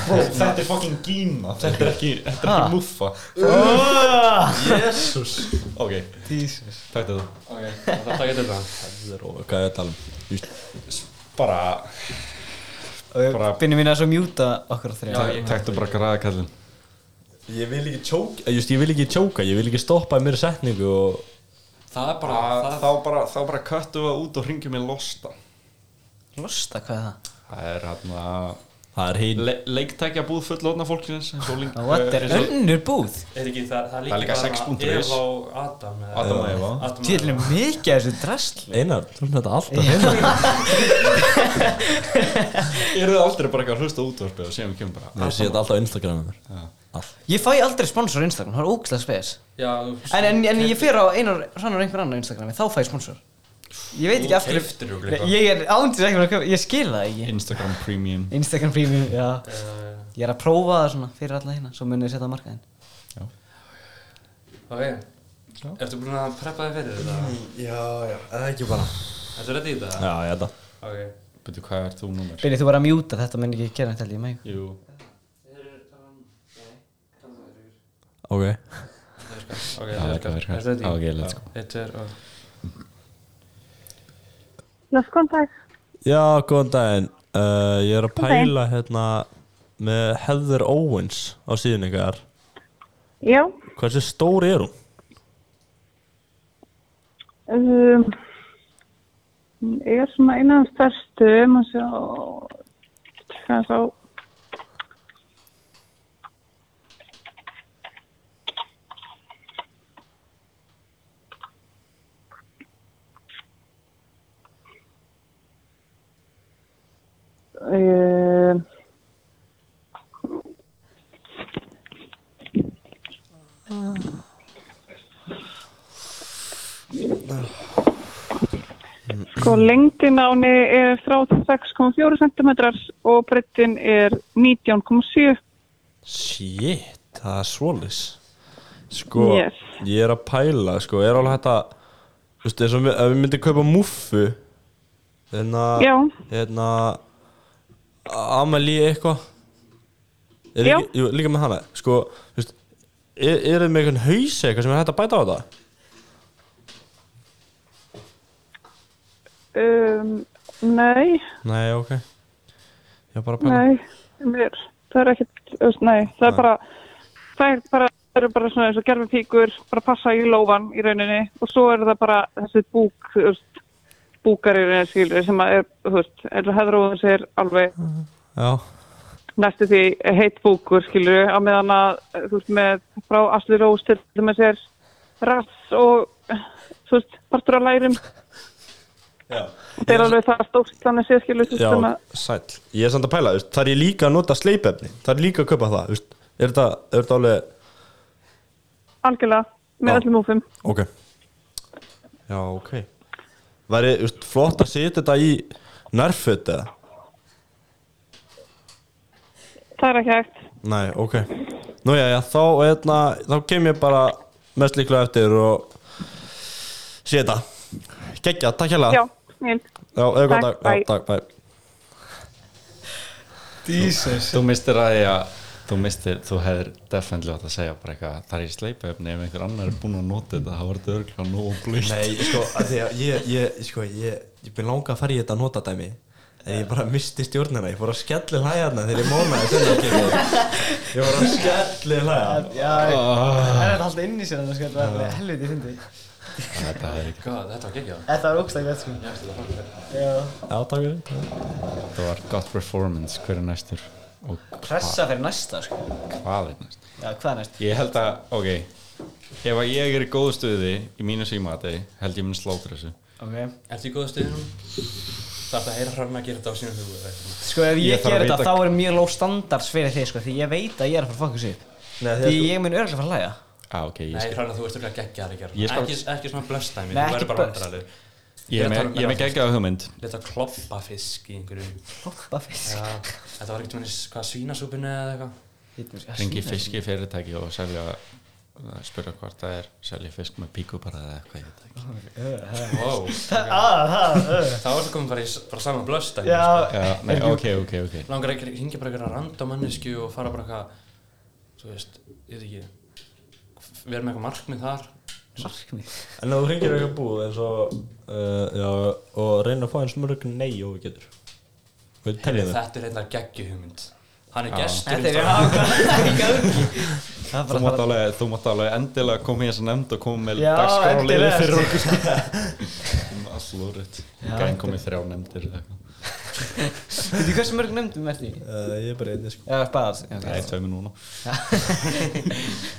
Speaker 3: Þetta er fucking gína Þetta er ekki, þetta er
Speaker 1: Ha?
Speaker 3: ekki muffa
Speaker 1: Oh,
Speaker 3: Jesus Ok,
Speaker 1: Jesus
Speaker 3: tættu þú
Speaker 4: Ok, það takk ég til það
Speaker 2: Það er róa, Hvað er að tala um? Just,
Speaker 3: Bara, Bara-
Speaker 1: Og finnum mín að svo mjúta okkur á þrjá
Speaker 4: ég-
Speaker 3: tættu bara græðakallin
Speaker 2: ég vil ekki tjóka Just, eh, ég vil ekki tjóka Ég vil ekki stoppa í mér setningu og
Speaker 4: Það er bara það,
Speaker 3: Þá bara, þá bara köttu við út og hringjum í Losta
Speaker 1: Losta, hvað er það?
Speaker 3: Það er hérna
Speaker 2: Það er heil
Speaker 3: le Leiktækja búð fullotna fólkins eins og
Speaker 1: Og What er önnur búð?
Speaker 4: Er ekki það Það
Speaker 3: Það er
Speaker 4: er
Speaker 3: líka
Speaker 4: líka
Speaker 3: sex punktur is.
Speaker 4: Eva og Adam eða-
Speaker 3: Adam og Eva.
Speaker 4: Adam og
Speaker 1: Tjöldin
Speaker 4: Eva
Speaker 1: mikið af þessu drasli
Speaker 2: Einar, þú erum þetta alltaf heima
Speaker 3: Eru þið aldrei bara eitthvað að hlusta á útvarpið og segjum kemur bara
Speaker 2: Ég sé þetta alltaf á Instagramum
Speaker 1: Ég fæ aldrei sponsor á Instagram, það er ógæslega spes
Speaker 4: Já
Speaker 1: En, en, en ég fer á einar rannar einhver annar á Instagrami, þá fæ ég sponsor Ég veit ekki
Speaker 4: Þú
Speaker 1: af hverju-
Speaker 4: keyptir örugglega eitthvað.
Speaker 1: Ég er ándis ekki að köpa, ég skil það ekki
Speaker 3: "Ah, Instagram Premium
Speaker 1: Instagram premium, já
Speaker 4: Eh,
Speaker 1: Ég er að prófa það svona fyrir alla hérna, svo munið þið setja á markaðinn
Speaker 4: Ok Ertu búin að preppa þig fyrir þetta?
Speaker 2: Já, já, eða ekki bara
Speaker 4: Ertu ready í þetta?
Speaker 2: Já, ég held að
Speaker 4: Ok
Speaker 3: Betur, hvað er þú númer?
Speaker 1: Byrni, þú var að mjúta þetta, menn ekki gera þetta held ég mæg
Speaker 3: Jú
Speaker 2: Ok
Speaker 4: Ok, það virkar. Er þetta í?
Speaker 3: Ok, let's go
Speaker 4: Þetta er, og-
Speaker 5: Los Contact.
Speaker 2: Já, góðan daginn uh, Ég er að pæla hérna með Heather Owens á síðan ykkar
Speaker 5: Já,
Speaker 2: Hversu stór er hún?
Speaker 5: um, hún er svona einan stærstu, maður sé á, hvað sá, Uh, sko, lengdin áni er 36,4 cm og breyttin er 19,7
Speaker 2: Shit, það er svolis Sko,
Speaker 5: Yes.
Speaker 2: ég er að pæla Sko, er alveg hægt að Þú veist, eins og við- ef við myndum kaupa múffu Hérna
Speaker 5: Já.
Speaker 2: Hérna Amalí eitthvað er
Speaker 5: Já.
Speaker 2: ekki, jú, Líka með hana Sko, þú veist Er, er það með einhvern haus eitthvað sem er hægt að bæta á þetta?
Speaker 5: um, Nei,
Speaker 2: Nei, ok Ég var bara að pæla
Speaker 5: nei mér, það er ekkert, þú veist, nei, það er bara það er bara, það eru bara svona eins og gerfi píkur, bara passa í lófan í rauninni og svo er það bara þessi búk, þú veist búkar í rauninni skilur sem að er, þú veist, eða hefðróðum sér alveg
Speaker 2: Já,
Speaker 5: næstu því heitt búkur skilur á meðan að þú veist með frá Asli Rós til þess er rass og þú veist partur á lærum þetta er alveg það stórt þannig sé skilur þú veist,
Speaker 2: já,
Speaker 5: sem að
Speaker 2: sæll Ég er samt að pæla, þú veist, þar er ég líka að nota sleipefni Þar er líka að kaupa það, þú veist Er þetta, er þetta alveg
Speaker 5: algjörlega með
Speaker 2: Já.
Speaker 5: öllum úfum
Speaker 2: Ok Já, ok Væri þú veist, flott að setja þetta í nærföt eða?
Speaker 5: það er ekki hægt
Speaker 2: Nei, ok Nú já, já, þá, eitna, þá kem ég bara mest líklega eftir og setja Gekja, takk hérlega
Speaker 5: já, snill
Speaker 2: já eða góðan
Speaker 5: Takk,
Speaker 2: dag,
Speaker 5: bye.
Speaker 2: já, takk, bæ
Speaker 3: Jesus Þú mistir að ég að Þú mistir, þú hefðir definitely átt að segja bara eitthvað Það er í sleipefni ef einhver annar er búinn að nota þetta Það var þetta örgla nóg blíkt
Speaker 2: Nei, sko, að því að ég, ég, sko, ég ég byrði langa að fara í þetta notadæmi en ég bara misti stjórnina, ég fór að skellu hlæðarna þegar ég mónaði senna að kemur ég fór að skellu hlæða
Speaker 1: Já, það er alltaf inn í sér þannig að það er helviti fyndi
Speaker 3: Þetta hefði
Speaker 4: God, þetta var geggjað.
Speaker 1: Þetta var ógst að gæta sko Já,
Speaker 2: Já, takk fyrir
Speaker 3: Þetta var gott performance, hver er næstur og
Speaker 1: pressa fyrir næsta sko
Speaker 3: hvað er næstur
Speaker 1: Já, hvað er næst?
Speaker 3: Ég held að, ok Ef að ég er í góðu stuði í mínu símati held ég mun slátur þessu
Speaker 1: Ok
Speaker 4: Ertu í góða stuðið nú? Þarf að heyra hrann að gera þetta á sínum hugu eða eitthvað?
Speaker 1: Sko ef
Speaker 3: Ég
Speaker 1: ég,
Speaker 3: þarf að
Speaker 1: ger þetta
Speaker 3: vita-
Speaker 1: þá er mjög lóð standards fyrir þig sko Því ég veit að ég er að fara að fokka sér
Speaker 2: Nei,
Speaker 1: Því ég mun örgulega fara að hlæja
Speaker 3: ah, ok, ég,
Speaker 4: Nei,
Speaker 3: skil-
Speaker 4: hrann að þú ert örugglega geggjaður að gera
Speaker 3: Ég
Speaker 4: þetta.
Speaker 3: skal-
Speaker 4: Ekki, ekki svona blöstæmi,
Speaker 1: Nei,
Speaker 4: þú
Speaker 1: ekki
Speaker 4: verður bara
Speaker 1: blöst.
Speaker 4: vandrarlegur.
Speaker 3: ég er með, ég
Speaker 1: um
Speaker 3: er með geggjaða hugmynd
Speaker 4: Leta kloppa fisk í einhverjum
Speaker 1: Hoppa fisk
Speaker 4: Já, þetta var ekkert með hvað svínasúpinu eða eitthvað
Speaker 1: sko.
Speaker 3: Ringi fiski fyrirtæki og selja að spyrja hvort það er selja fisk með píkubara eða eitthvað ég veit það ekki.
Speaker 4: Wow,
Speaker 1: Það, það, það
Speaker 4: þá ertu komin bara í s- bara saman blöst
Speaker 1: Já,
Speaker 3: Já, nei, ok, ok, ok
Speaker 4: Langar ekki að hingja bara eitthvað random mannesku og fara bara eitthvað Svo veist, ég veit ekki Við erum eitthvað markmið þar
Speaker 1: markmið
Speaker 2: En ef þú hringir eitthvað búið eins og uh, já, og reynir að fá eins mörg nei og við getur Við
Speaker 4: Heyrðu,
Speaker 2: teljum þetta
Speaker 4: Þetta er reyndar geggjuhugmynd Hann er hérna- gestur
Speaker 1: Þetta er já, ekki örgi Það er
Speaker 3: Þú
Speaker 1: bara
Speaker 3: mátt alveg, þú mátt alveg endilega koma í þessa nefnd og koma með
Speaker 1: Já,
Speaker 3: dagskrálið
Speaker 1: endilega.
Speaker 3: fyrir okkur Allúrið Gæn komið þrjá nefndir eða eitthvað
Speaker 1: Þú veit hversu mörg nefndum ert í?
Speaker 2: uh, Ég er bara einnig sko
Speaker 1: Já, bara alls Já,
Speaker 3: Nei, tveimur núna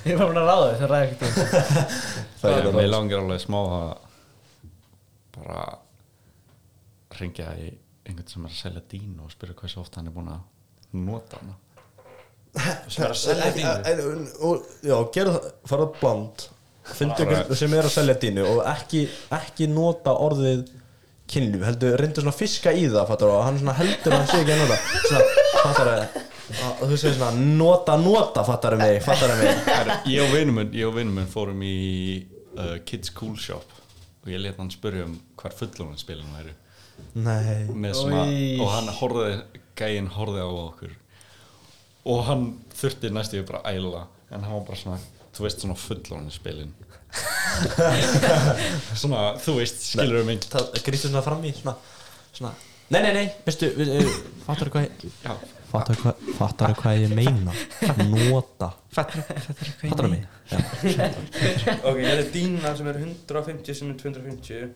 Speaker 1: Ég er bara búin að ráða þau, þau ræða ekkert um
Speaker 2: Það
Speaker 3: Það
Speaker 2: er
Speaker 3: er
Speaker 2: bara
Speaker 3: mér langir alveg smá að bara ringja í einhvern sem er að selja dínu og spyrja hversu ofta hann er búin að nota hana
Speaker 4: sem er að selja dínu
Speaker 2: en, en, og, Já, gerð það, fara bland Fyndu ykkur sem er að selja dínu og ekki, ekki nota orðið kynlíf, heldur, reyndu svona að fiska í það fattar og hann svona heldur að hann sé ekki að nota svona, fattar að og þú segir svona, nota, nota, fattar mig fattar mig,
Speaker 3: Herru, Ég og vinur minn, ég og vinur minn fórum í uh, Kids Cool Shop og ég let hann spyrja um hvar fullónarspilin væri
Speaker 2: nei
Speaker 3: með svona,
Speaker 1: Oj.
Speaker 3: og hann horfði gæinn horfði á okkur og hann þurfti næstu ég bara að æla en hann var bara svona, þú veist svona fullónarspilin svona, þú veist, skilur um einhvern
Speaker 2: það grýstu svona fram í svona, svona Nei, nei, nei, veistu, uh, fattar þú hvað ég
Speaker 3: Já.
Speaker 2: Fattar þú hvað, fattar hvað ég meina Nota Fattar þú mig
Speaker 4: Ok, ég er dína sem er 150 sem er 250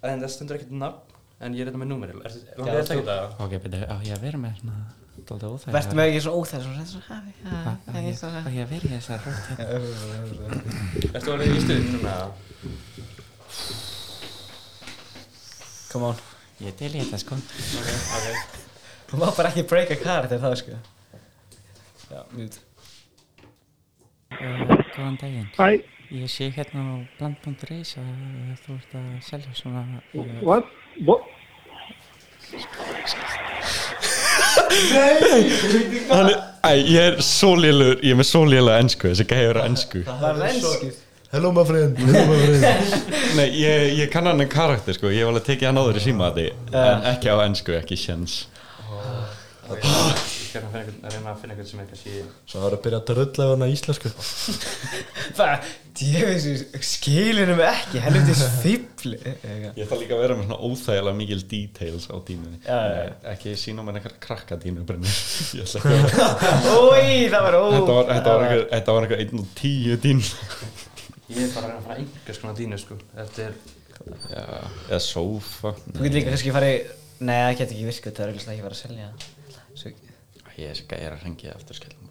Speaker 4: En það stundur ekkert nafn En ég er þetta með númeril Langar ég að taka þetta?
Speaker 3: ok, betur, á ég að vera með svona dálítið óþægilega-
Speaker 1: Vertu með ekki svona óþæð Svona svona hafi Það er svona
Speaker 3: Á ég að vera í þessar rödd
Speaker 4: Ertu alveg í stuðinu núna?
Speaker 1: Come on
Speaker 3: ég til í þetta sko
Speaker 4: Ok, ok
Speaker 1: Hún var bara ekki að breyka karakter þá sko Já, mjút
Speaker 3: Eh,
Speaker 6: Uh, Góðan daginn.
Speaker 7: Hæ,
Speaker 6: Ég sé hérna á bland.is að uh, þú ert að selja svona...
Speaker 3: eh,
Speaker 6: Uh,
Speaker 7: what? What?
Speaker 3: Hann er, æ, ég er svo lélugur, ég er með svo léluga ennsku, þessi gæður ennsku.
Speaker 1: Það var lenskir
Speaker 8: Hello my friend, hello my friend
Speaker 3: Nei, ég, ég kann hann en karakter, sko, ég hef alveg tekið hann áður í síma en ekki á ennsku, ekki sjens.
Speaker 4: Ég er að finna einhvern- að reyna að finna einhvern sem er kannski
Speaker 2: Svo það er að byrja að drulla við hana íslensku
Speaker 1: Bara, djöfis, skilinum ekki Helvitis fíbli Eitthvað.
Speaker 3: Ég ætla líka að vera með svona óþægilega mikil details á tímunni.
Speaker 1: Já, já, já.
Speaker 3: Nei, Ekki sína mér einhver krakka tímur brennir. Ég ætla ekki að...
Speaker 1: Ói, það var ó
Speaker 3: Þetta var, þetta var einhver, þetta var einhver 1 og 10 tím.
Speaker 4: Ég er bara að reyna að finna einhvers konar dínu sko Þetta er
Speaker 3: Já, eða sófa.
Speaker 1: Þú getur líka kannski farið Nei, það getur ekki virkuð, það er auðvitað ekki að fara að selja Svo
Speaker 3: Ég er þessi gæður að hringja eftir skellum.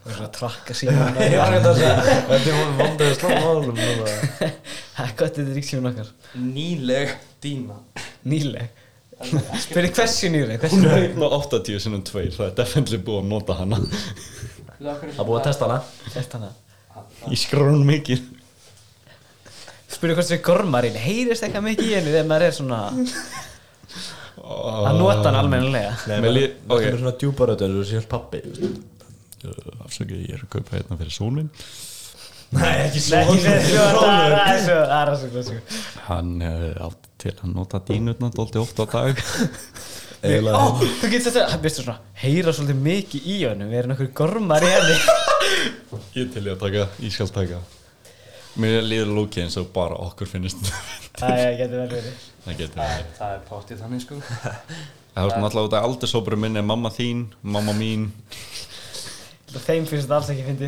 Speaker 1: Það er svona að trakka síman
Speaker 2: Ég var
Speaker 4: hérna
Speaker 2: ekki að segja Þetta er vondaðið slá málum núna.
Speaker 1: Það er gott þetta er ríksíman okkar
Speaker 4: nýleg dína
Speaker 1: Nýleg Spyrir hversu nýleg, hversu
Speaker 3: Hún
Speaker 1: nýleg
Speaker 3: er 1 og 80 sinnum 2, það er definitely búið að nota hana.
Speaker 2: Það er búið að testa hana
Speaker 1: Þetta hana
Speaker 3: Ég skrón mikið.
Speaker 1: Spyrir hvort þessi gormarinn heyrist eitthvað mikið í henni Þegar maður er svona að nota hann almennilega
Speaker 2: Nei,
Speaker 3: Mér
Speaker 2: maður
Speaker 3: líð-
Speaker 2: okay.
Speaker 3: ok.
Speaker 2: er svona djúparötu en þú sé hans pappi
Speaker 3: Afsökið, ég er að kaupa hérna fyrir sónin.
Speaker 2: Nei, ekki
Speaker 1: Nei, ekki segja svo, það er aðeins svo- það er aðeins svo- sko. svo- svo.
Speaker 3: Hann uh, átt til að nota dínutna dólti oft á
Speaker 1: Ó,
Speaker 3: dag.
Speaker 2: Eiginlega
Speaker 1: Þú getur þetta, hann veistu svona Heyra svolítið mikið í honum, við erum nokkur gormar í henni
Speaker 3: ég til ég að taka, ég skal taka. Mér líður lúkið eins og bara okkur finnist.
Speaker 1: Það getur vel verið
Speaker 3: það getur
Speaker 4: Það
Speaker 3: það.
Speaker 4: er- það er pottið þannig sko
Speaker 3: Það er svona alltaf út af aldursópuru minni, mamma þín, mamma mín.
Speaker 1: Og Þeim finnst þetta alls ekki fyndi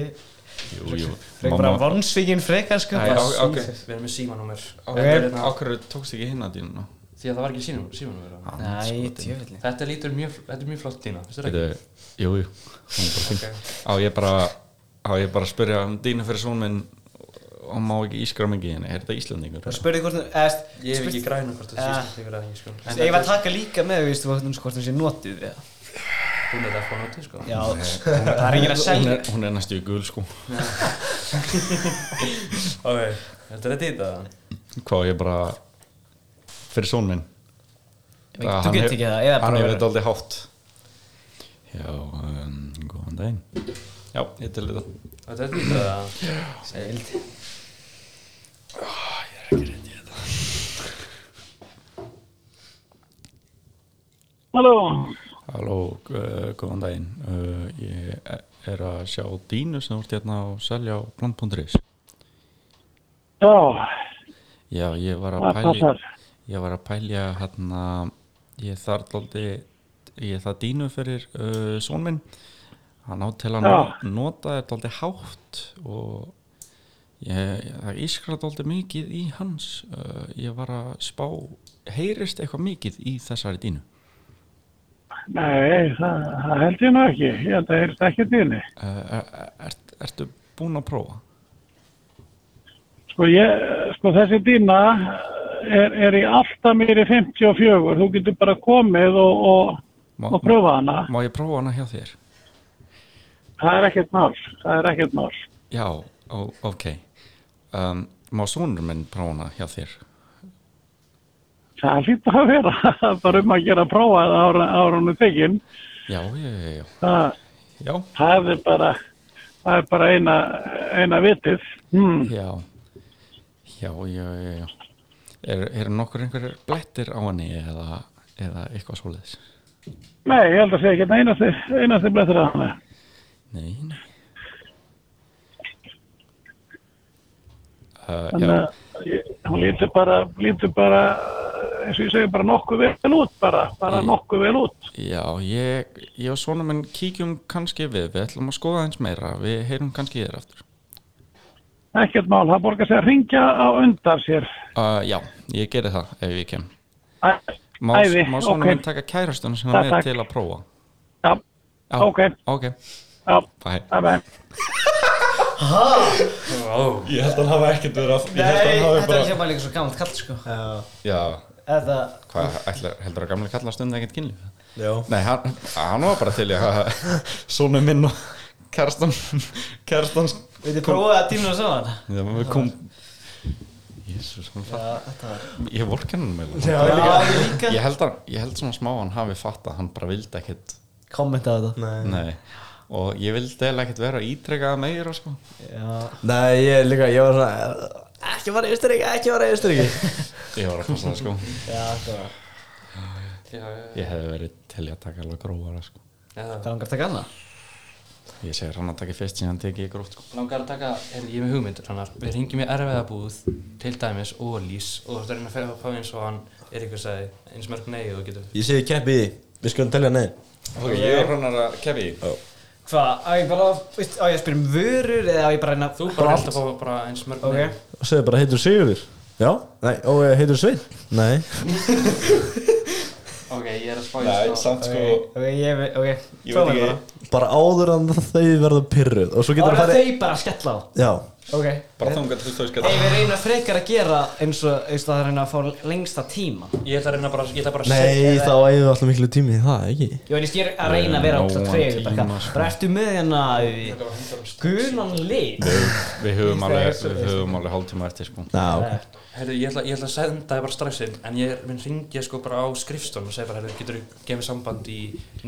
Speaker 3: Jú, jú.
Speaker 1: Frekar bara vonsvíkin frekar sko
Speaker 3: Æ,
Speaker 1: bara-
Speaker 3: á- ok.
Speaker 4: Við erum með símanúmer hérna-
Speaker 3: Ákveður tókst ekki hinn að dínuna?
Speaker 4: Því að það var ekki sínum- símanúmer á.
Speaker 1: Æ, djöfellin
Speaker 4: Þetta lítur mjög, þetta er mjög flott dína Þetta er
Speaker 3: Þetta, jú, jú. Hún er bara fín. Á ég bara, á ég bara að spyrja um dínu fyrir sónin minn og má ekki ískra mikið henni. Er þetta Íslandingur?
Speaker 1: Og spurði hvort hún, eðst
Speaker 4: Ég hef ekki græna hvort
Speaker 1: Ja.
Speaker 4: þetta sést ykkur að ekki sko
Speaker 1: Ég var
Speaker 4: En
Speaker 1: að
Speaker 4: þetta er-
Speaker 1: taka líka með, veistu, hvort hún hvort hún sé notið eða.
Speaker 4: Hún er það frá notið sko
Speaker 1: Já, það er enginn að
Speaker 3: Hún
Speaker 1: selja
Speaker 3: er, hún er næstu í gul sko.
Speaker 4: Ok, þetta er þetta í það
Speaker 3: hvað ég bara fyrir són minn
Speaker 1: Ég veit ekki, Þú getur ekki það, eða
Speaker 3: hann
Speaker 1: bara
Speaker 3: hefur þetta aldrei hátt já, um, góðan daginn já, ég til þetta
Speaker 4: Þetta er þetta í það
Speaker 1: Seld
Speaker 5: Halló,
Speaker 3: halló, uh, góðan daginn uh, ég er að sjá dínu sem þú ert hérna að selja á bland.is
Speaker 5: já,
Speaker 3: já, ég var að
Speaker 5: það
Speaker 3: pælja
Speaker 5: passar.
Speaker 3: ég var að pælja hérna ég þarf aldrei ég þarf dínu fyrir uh, són minn hann átt til að
Speaker 5: Já.
Speaker 3: no- nota þetta aldrei hátt og ég, það ískrat aldrei mikið í hans uh, ég var að spá heyrist eitthvað mikið í þessari dínu
Speaker 5: Nei, það, það held ég nú ekki. Ég held að það heyrst ekki dýrni.
Speaker 3: uh, er, er, ertu búin að prófa?
Speaker 5: Sko, ég, sko þessi dýna er, er í alltaf mér í 54. Þú getur bara komið og, og,
Speaker 3: Má,
Speaker 5: og pröfa hana.
Speaker 3: má ég prófa hana hjá þér?
Speaker 5: Það er ekkert mál. Það er ekkert mál.
Speaker 3: já, ó, ok um, má sonur minn prófa hana hjá þér?
Speaker 5: Það er lítið að vera. Það er bara um að gera að prófa það ára, ára hún er tekinn.
Speaker 3: já, já, já, já,
Speaker 5: Það,
Speaker 3: já.
Speaker 5: það er bara, það er bara eina, eina vitið. Hmm.
Speaker 3: Já, já, já, já, já. Er, er nokkur einhverjir blettir á henni eða, eða eitthvað svoleiðis?
Speaker 5: Nei, ég held að segja ekki einasti, einasti blettur að hana.
Speaker 3: Nei, nei. Uh,
Speaker 5: Þannig
Speaker 3: já,
Speaker 5: að ég- hún lítur bara, lítur bara, eins og ég segi, bara nokkuð vel út bara, bara
Speaker 3: Mm.
Speaker 5: nokkuð vel út.
Speaker 3: já, ég, ég og svona menn kíkjum kannski við, við ætlum að skoða eins meira, við heyrum kannski í þér aftur.
Speaker 5: Ekkert mál, það borgar sig að ringja á undan sér.
Speaker 3: Uh, já, ég geri það ef ég kem.
Speaker 5: Æ,
Speaker 3: Má,
Speaker 5: Æði,
Speaker 3: má svona
Speaker 5: ok.
Speaker 3: menn taka kærastunum sem
Speaker 5: Takk,
Speaker 3: hann er
Speaker 5: takk.
Speaker 3: til að prófa?
Speaker 5: já,
Speaker 3: Já,
Speaker 5: Ok.
Speaker 3: Ok,
Speaker 5: já,
Speaker 3: bæ.
Speaker 5: bæ bæ.
Speaker 4: Ó,
Speaker 3: Ég held að hann hafa ekkert verið að...
Speaker 1: Nei, þetta er ekki bara líka svo gammalt kall sko
Speaker 3: Já,
Speaker 1: eða
Speaker 3: Hvað, ætlar, heldur að gamla kalla stundin ekkert kynlíf?
Speaker 2: Já.
Speaker 3: Nei, hann, hann var bara til í að Sónu minn og kærstan Kærstan
Speaker 1: við þið prófaði að tíma saman
Speaker 3: Já, við kom Jésús, hann fatt
Speaker 1: Já, þetta var
Speaker 3: Ég vorkenna hann meðlega
Speaker 2: Já,
Speaker 1: Já, ég
Speaker 3: Ég
Speaker 1: líka
Speaker 3: held, að, ég held svona smá að hann hafi fatt að hann bara vildi ekkert
Speaker 1: kommentaði þetta
Speaker 2: Nei.
Speaker 3: Nei Og ég vildi eða ekkert vera ítrekað meira sko
Speaker 1: Já,
Speaker 2: Nei, ég líka, ég var svona Ekki fara í Austuríki, ekki fara í Austuríki
Speaker 3: Ég var að passa það sko
Speaker 1: já, þetta var
Speaker 4: Já, já,
Speaker 3: Ég hefði verið til í að taka alveg grófara sko
Speaker 4: já.
Speaker 1: Það langar að taka annað
Speaker 3: Ég segir hann að taka fyrst síðan tekið ég gróft sko
Speaker 4: Langar að taka, er ég er með hugmynd hannar, við ringjum í erfiðabúð til dæmis og lýs og þú ert að reyna að ferja upp á eins og hann er ykkur sagði eins mörg nei og þú getur
Speaker 2: Ég segi keppi í því, við skulum telja nei
Speaker 3: Ok, ég er hann að kefi
Speaker 1: Hvað, á ég bara, veist, á ég að spyrja um vörur eða á ég bara að reyna
Speaker 4: Þú bara held að fá bara eins mörg
Speaker 1: Ok.
Speaker 4: nei
Speaker 2: Og segðu bara, heitur Sigurður? Já Nei, og eh, heitur Sveinn? Nei
Speaker 4: Ok, ég er að spá í
Speaker 3: Nei,
Speaker 4: stað.
Speaker 3: samt sko
Speaker 1: Ok, ég veit, ok
Speaker 3: Ég
Speaker 1: Prófaðu
Speaker 3: veit
Speaker 1: bara
Speaker 3: ekki,
Speaker 2: Bara áður en þau verða pyrruð Og svo getur
Speaker 1: Ára
Speaker 2: það farið
Speaker 1: þau bara að skella á
Speaker 2: Já
Speaker 1: Ok
Speaker 3: bara þangat til þau skal
Speaker 1: Ef við reyna frekar að gera eins og, veist, að reyna að fá lengsta tíma
Speaker 4: Ég ætla að reyna bara, ég ætla bara að
Speaker 2: Nei, þá eigum við alltaf miklu tími í það, ekki?
Speaker 1: Ég veit, ég er að reyna að vera
Speaker 3: Nógan
Speaker 1: ógst að treyja
Speaker 3: tíma,
Speaker 1: bara,
Speaker 3: sko.
Speaker 1: bara ertu með hérna Gunan lit Eh,
Speaker 3: Við höfum alveg, við höfum alveg hálftíma eftir sko
Speaker 2: Já, ok
Speaker 4: Herru, ég ætla, ég ætla að senda það bara strax inn en ég er- minn ringja sko bara á skrifstofn og segja bara, herru, getur þú gefið samband í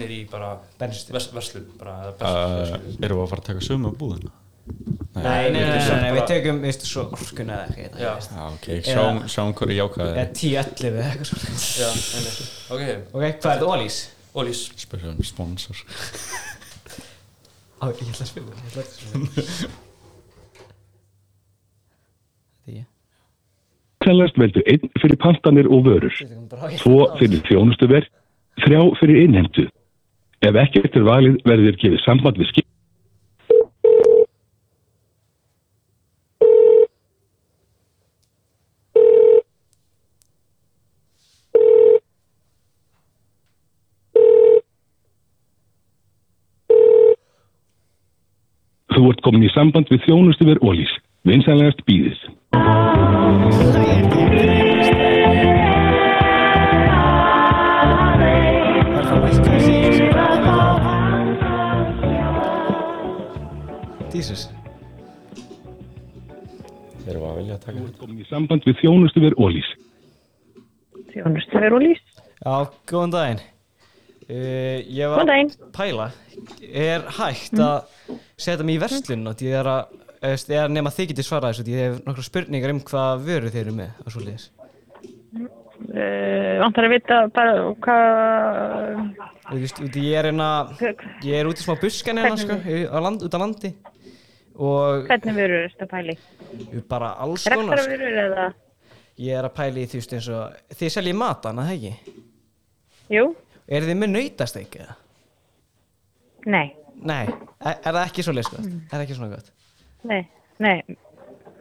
Speaker 4: niður í bara
Speaker 1: Bensistöð.
Speaker 4: vers, verslun, bara eða
Speaker 2: Ah,
Speaker 3: uh,
Speaker 4: best
Speaker 3: Erum við að fara að taka sömu búðina?
Speaker 1: Nei, nei, nei, nei, nei, nei,
Speaker 4: bara-
Speaker 1: við tökum, veist, svo orkuna eða eitthvað
Speaker 4: Já,
Speaker 1: ég veist.
Speaker 3: Já, ok, sjáum, sjáum hverju jákaði
Speaker 1: Eða 10-11 eða eitthvað svona
Speaker 4: já, einmitt Ok,
Speaker 1: Ok, hvað er þetta, Ólís?
Speaker 4: og lýs
Speaker 3: Spyrum sponsor
Speaker 1: Á, ég ætla að spila, ég ætla að spila Þetta er ég
Speaker 7: Tellast veldu einn fyrir pantanir og vörur,
Speaker 1: Þetta kom bara á ég
Speaker 7: tvo fyrir þjónustuverð, þrjá fyrir innheimtu. Ef ekkert er valið verður þér gefið samband við skip. Þú ert komin í samband við þjónustuverð og lýs. Vinsanlegast býðið.
Speaker 1: Jesus
Speaker 3: Erum við að vilja að taka
Speaker 7: Þú ert komin í samband við þjónustuverð og lýs.
Speaker 9: Þjónustöður og lýs.
Speaker 1: Já, góðan daginn uh, Ég var
Speaker 9: Góðan daginn. Mm.
Speaker 1: að pæla Er hægt að setja mig í verslun og ég er að eh, veist, ég er nema þið getið svarað þessu því ég hef nokkra spurningar um hvað vöru þeir eru með og svo leiðis
Speaker 9: Uh, vantar að vita bara hvað...
Speaker 1: Ég er einna ég er út í smá buskan hérna sko, á land, út á landi og
Speaker 9: Hvernig veru þetta pæli?
Speaker 1: bara alls konar
Speaker 9: Rektara
Speaker 1: sko.
Speaker 9: veru eða?
Speaker 1: ég er að pæla í því eins og þið seljið matana, það ekki?
Speaker 9: Jú?
Speaker 1: Er þið með nautasteik eða?
Speaker 9: Nei.
Speaker 1: Nei, e- er, er það ekki svo leiðis gott?
Speaker 9: Mm.
Speaker 1: Er það ekki svona gott?
Speaker 9: Nei. Nei.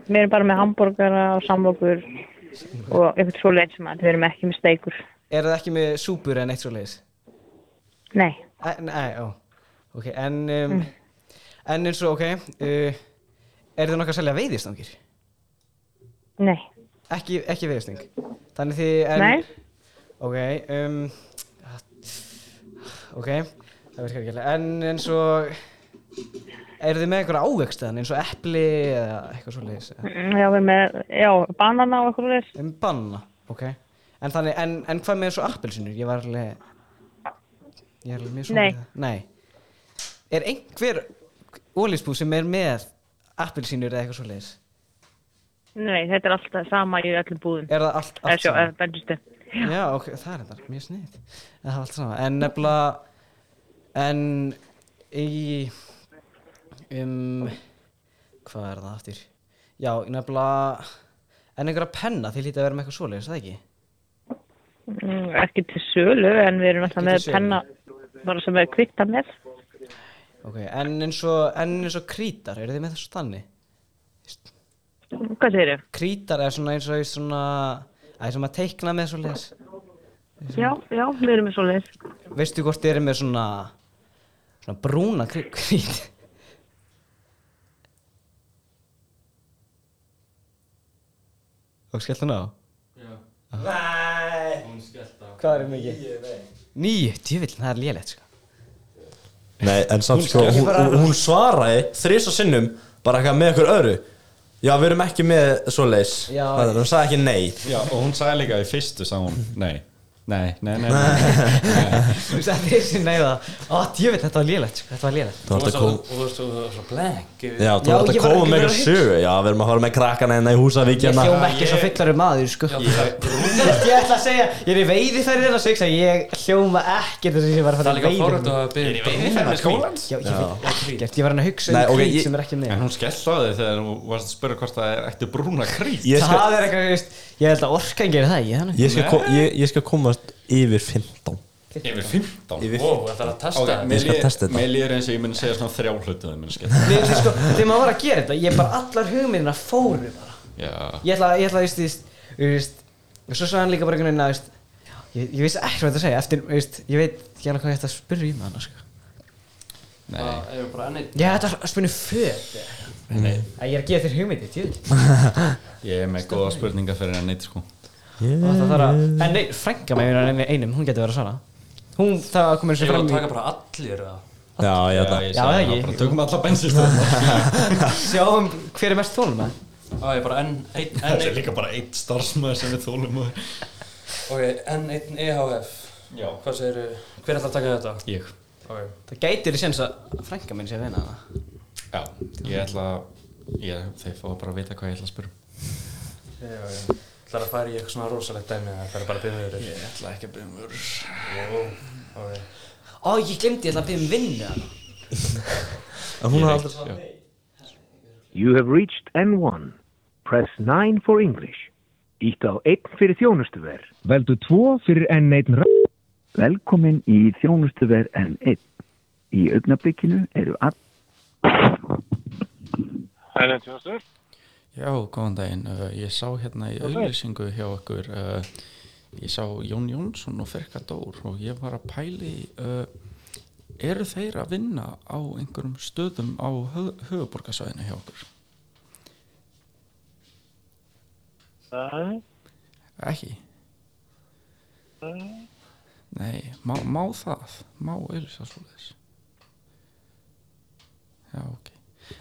Speaker 9: Við erum bara með hambúrgara og samlokur og eitthvað svo leið sem að við erum ekki með steikur.
Speaker 1: Er það ekki með súpur en eitt svo leiðis?
Speaker 9: Nei.
Speaker 1: Eh, Nei, já Ok, en um, En eins og, ok uh, Er þið nokkað að selja veiðistangir?
Speaker 9: Nei.
Speaker 1: Ekki, ekki veiðistang Þannig þið en,
Speaker 9: Nei.
Speaker 1: Ok um, Ok Það virkar ekki alveg En eins og Er þið með einhverja ávegstaðan eins og epli eða eitthvað svo leiðis
Speaker 9: Mm, Já, við erum með, já, banana og eitthvað leið.
Speaker 1: Um banna, ok En, þannig, en, en hvað með eins og appelsinur? Ég var alveg Ég er alveg mjög svona
Speaker 9: Nei.
Speaker 1: við það. Nei Er einhver ólísbú sem er með appelsínur eða eitthvað svoleiðis?
Speaker 9: Nei, þetta er alltaf sama í öllum búðum. eh,
Speaker 1: Er það allt,
Speaker 9: Eða
Speaker 1: allt
Speaker 9: sjó, eða bennistu.
Speaker 1: Já, ok, það er þetta mjög snið Það er allt sama En nefnilega En í Um Hvað er það aftur? Já, nefnilega En einhverja penna, þið lítið að vera með eitthvað svoleiðis, er það ekki?
Speaker 9: Mm, ekki til sölu, en við erum alltaf
Speaker 1: Ekki
Speaker 9: með
Speaker 1: til sölu.
Speaker 9: penna, bara sem við kvittar með.
Speaker 1: Ok, en eins og, en eins og krítar, eru þið með þessu þannig?
Speaker 9: Hvað segir þau?
Speaker 1: Krítar er svona eins og í svona, það er svona að teikna með svo leis. Mhm.
Speaker 9: Já, já, við erum með svo leið.
Speaker 1: Veistu hvort þið eru með svona, svona brúna krí- krít? Og skellt hann á? Já. Nei! Hvað er mikið? Níu, djövill, það er lélegt sko.
Speaker 2: Nei, en samt sko, hún, hún, hún svaraði þrís og sinnum bara eitthvað með ykkur öðru Já, við erum ekki með svo leis
Speaker 1: Já.
Speaker 2: Þannig að hún sagði ekki nei
Speaker 3: Já, og hún sagði líka í fyrstu sagði hún, nei, nei, nei, nei, nei.
Speaker 1: Þú veist að þeir sem neyða Ó, djövill, þetta var lélegt sko, þetta var lélegt
Speaker 2: Þú
Speaker 4: Og
Speaker 2: ert að
Speaker 4: svo-
Speaker 2: koma
Speaker 4: og þú veist, þú veist, svo blank yfir-
Speaker 2: Já, þú
Speaker 1: Já, ég
Speaker 2: ert að
Speaker 1: var-
Speaker 2: koma
Speaker 1: ég
Speaker 2: með
Speaker 1: var að
Speaker 2: eitthvað sögu Já, við erum að fara með krakkana hérna í Húsavík
Speaker 1: Ég
Speaker 2: hérna
Speaker 1: hljóma ekki svo
Speaker 4: ég-
Speaker 1: fyllar um aður sko
Speaker 4: Já, það-
Speaker 1: Ég ætla að segja, ég er í veiði þær þeirra sex að ég hljóma ekkert þess að ég var að
Speaker 4: Það er
Speaker 1: fara í
Speaker 4: líka
Speaker 1: veiði
Speaker 4: fórhund og það byrði brúna kvín
Speaker 1: Já, ég veit ekkert, ég var hann að hugsa
Speaker 2: Nei,
Speaker 1: um
Speaker 2: ok,
Speaker 1: krít
Speaker 2: ég-
Speaker 1: sem er ekki með
Speaker 3: En hún skellt á þig þegar hún varst að spyrja hvort það er ætti brúna krít
Speaker 2: Ég skal,
Speaker 1: Það er eitthvað, þú veist, ég held að orkan gerir það, ég hann
Speaker 2: ég skal, ko ég, ég skal komast yfir 15
Speaker 3: Yfir 15
Speaker 2: Yfir
Speaker 4: Wow, það er að testa
Speaker 3: Ok,
Speaker 4: það.
Speaker 3: mér
Speaker 2: Ég skal
Speaker 3: líður-
Speaker 2: testa þetta.
Speaker 3: Mér líður eins og ég muni segja svona þrjá hlutu þegar muni skellt
Speaker 1: Nei, þú sko, þegar maður var að gera þetta, ég bara allar hugmyndina fóru bara
Speaker 3: Já,
Speaker 1: Ég ætla, ég ætla, þú veist, þú veist, þú veist Og svo sagði hann líka bara einhvern veginn að, þú veist Ég, ég veist ekki hvað þetta að segja, eftir, þú veist, ég veit ekki alveg hvað ég ætti að spyrja í með hana, sko
Speaker 3: nei,
Speaker 4: Það er bara ennið
Speaker 1: Ég ætti að spyrja um föt eða eitthvað.
Speaker 3: nei
Speaker 1: Æ, Ég er að gefa þér hugmyndi, tjóðil
Speaker 3: Ég er með góða spurninga fyrir hann eitt sko
Speaker 1: Það þarf að, en nei, frænka mig einum, einum, hún getur verið að svara Hún, það komið
Speaker 4: Ég
Speaker 1: sem
Speaker 4: var
Speaker 1: fram
Speaker 4: að
Speaker 1: í
Speaker 4: taka bara allir eða
Speaker 2: Já, ég ætla
Speaker 3: ég
Speaker 1: Já,
Speaker 3: sagði
Speaker 1: það
Speaker 3: það
Speaker 1: ekki.
Speaker 3: bara, Tökum alla bensinstöðum
Speaker 1: Sjáum hver er mest þólum að
Speaker 4: Það er bara enn einn enn
Speaker 3: Það er
Speaker 4: einn
Speaker 3: líka bara eitt starfsmöður sem við þólum og
Speaker 4: Ok, enn einn EHF
Speaker 3: Já.
Speaker 4: Hvað segir Hver ætlar að taka þetta?
Speaker 3: Ég
Speaker 4: Ok
Speaker 1: Það gætir í sens að frænka minn sé að vinna það
Speaker 3: Já, ég ætla ég, Þeir fá bara að vita hvað ég ætla að spyrja um.
Speaker 4: E Það er að fara í eitthvað svona rosalegt dæmi eða Það er bara að um byrja yfir
Speaker 3: Ég ætla ekki að byrja mörg
Speaker 4: Ok
Speaker 1: Ó, ég glemdi, ég ætla að byrja um vinnu hana
Speaker 2: En hún hafði
Speaker 10: You have reached N1. Press 9 for English. Ítt á 1 fyrir þjónustuver. Veldu 2 fyrir N1. ra- Velkomin í þjónustuver N1. Í augnablikinu eru all...
Speaker 6: Já, góðan daginn. Uh, ég sá hérna í auðlýsingu hjá okkur, uh, ég sá Jón Jónsson og Ferka Dór og ég var að pæli, uh, eru þeir að vinna á einhverjum stöðum á höf höfuborgarsvæðinu hjá okkur? Nei. Ekki? Nei. Nei, má, má það? Má auðlýsa svo Já, ok.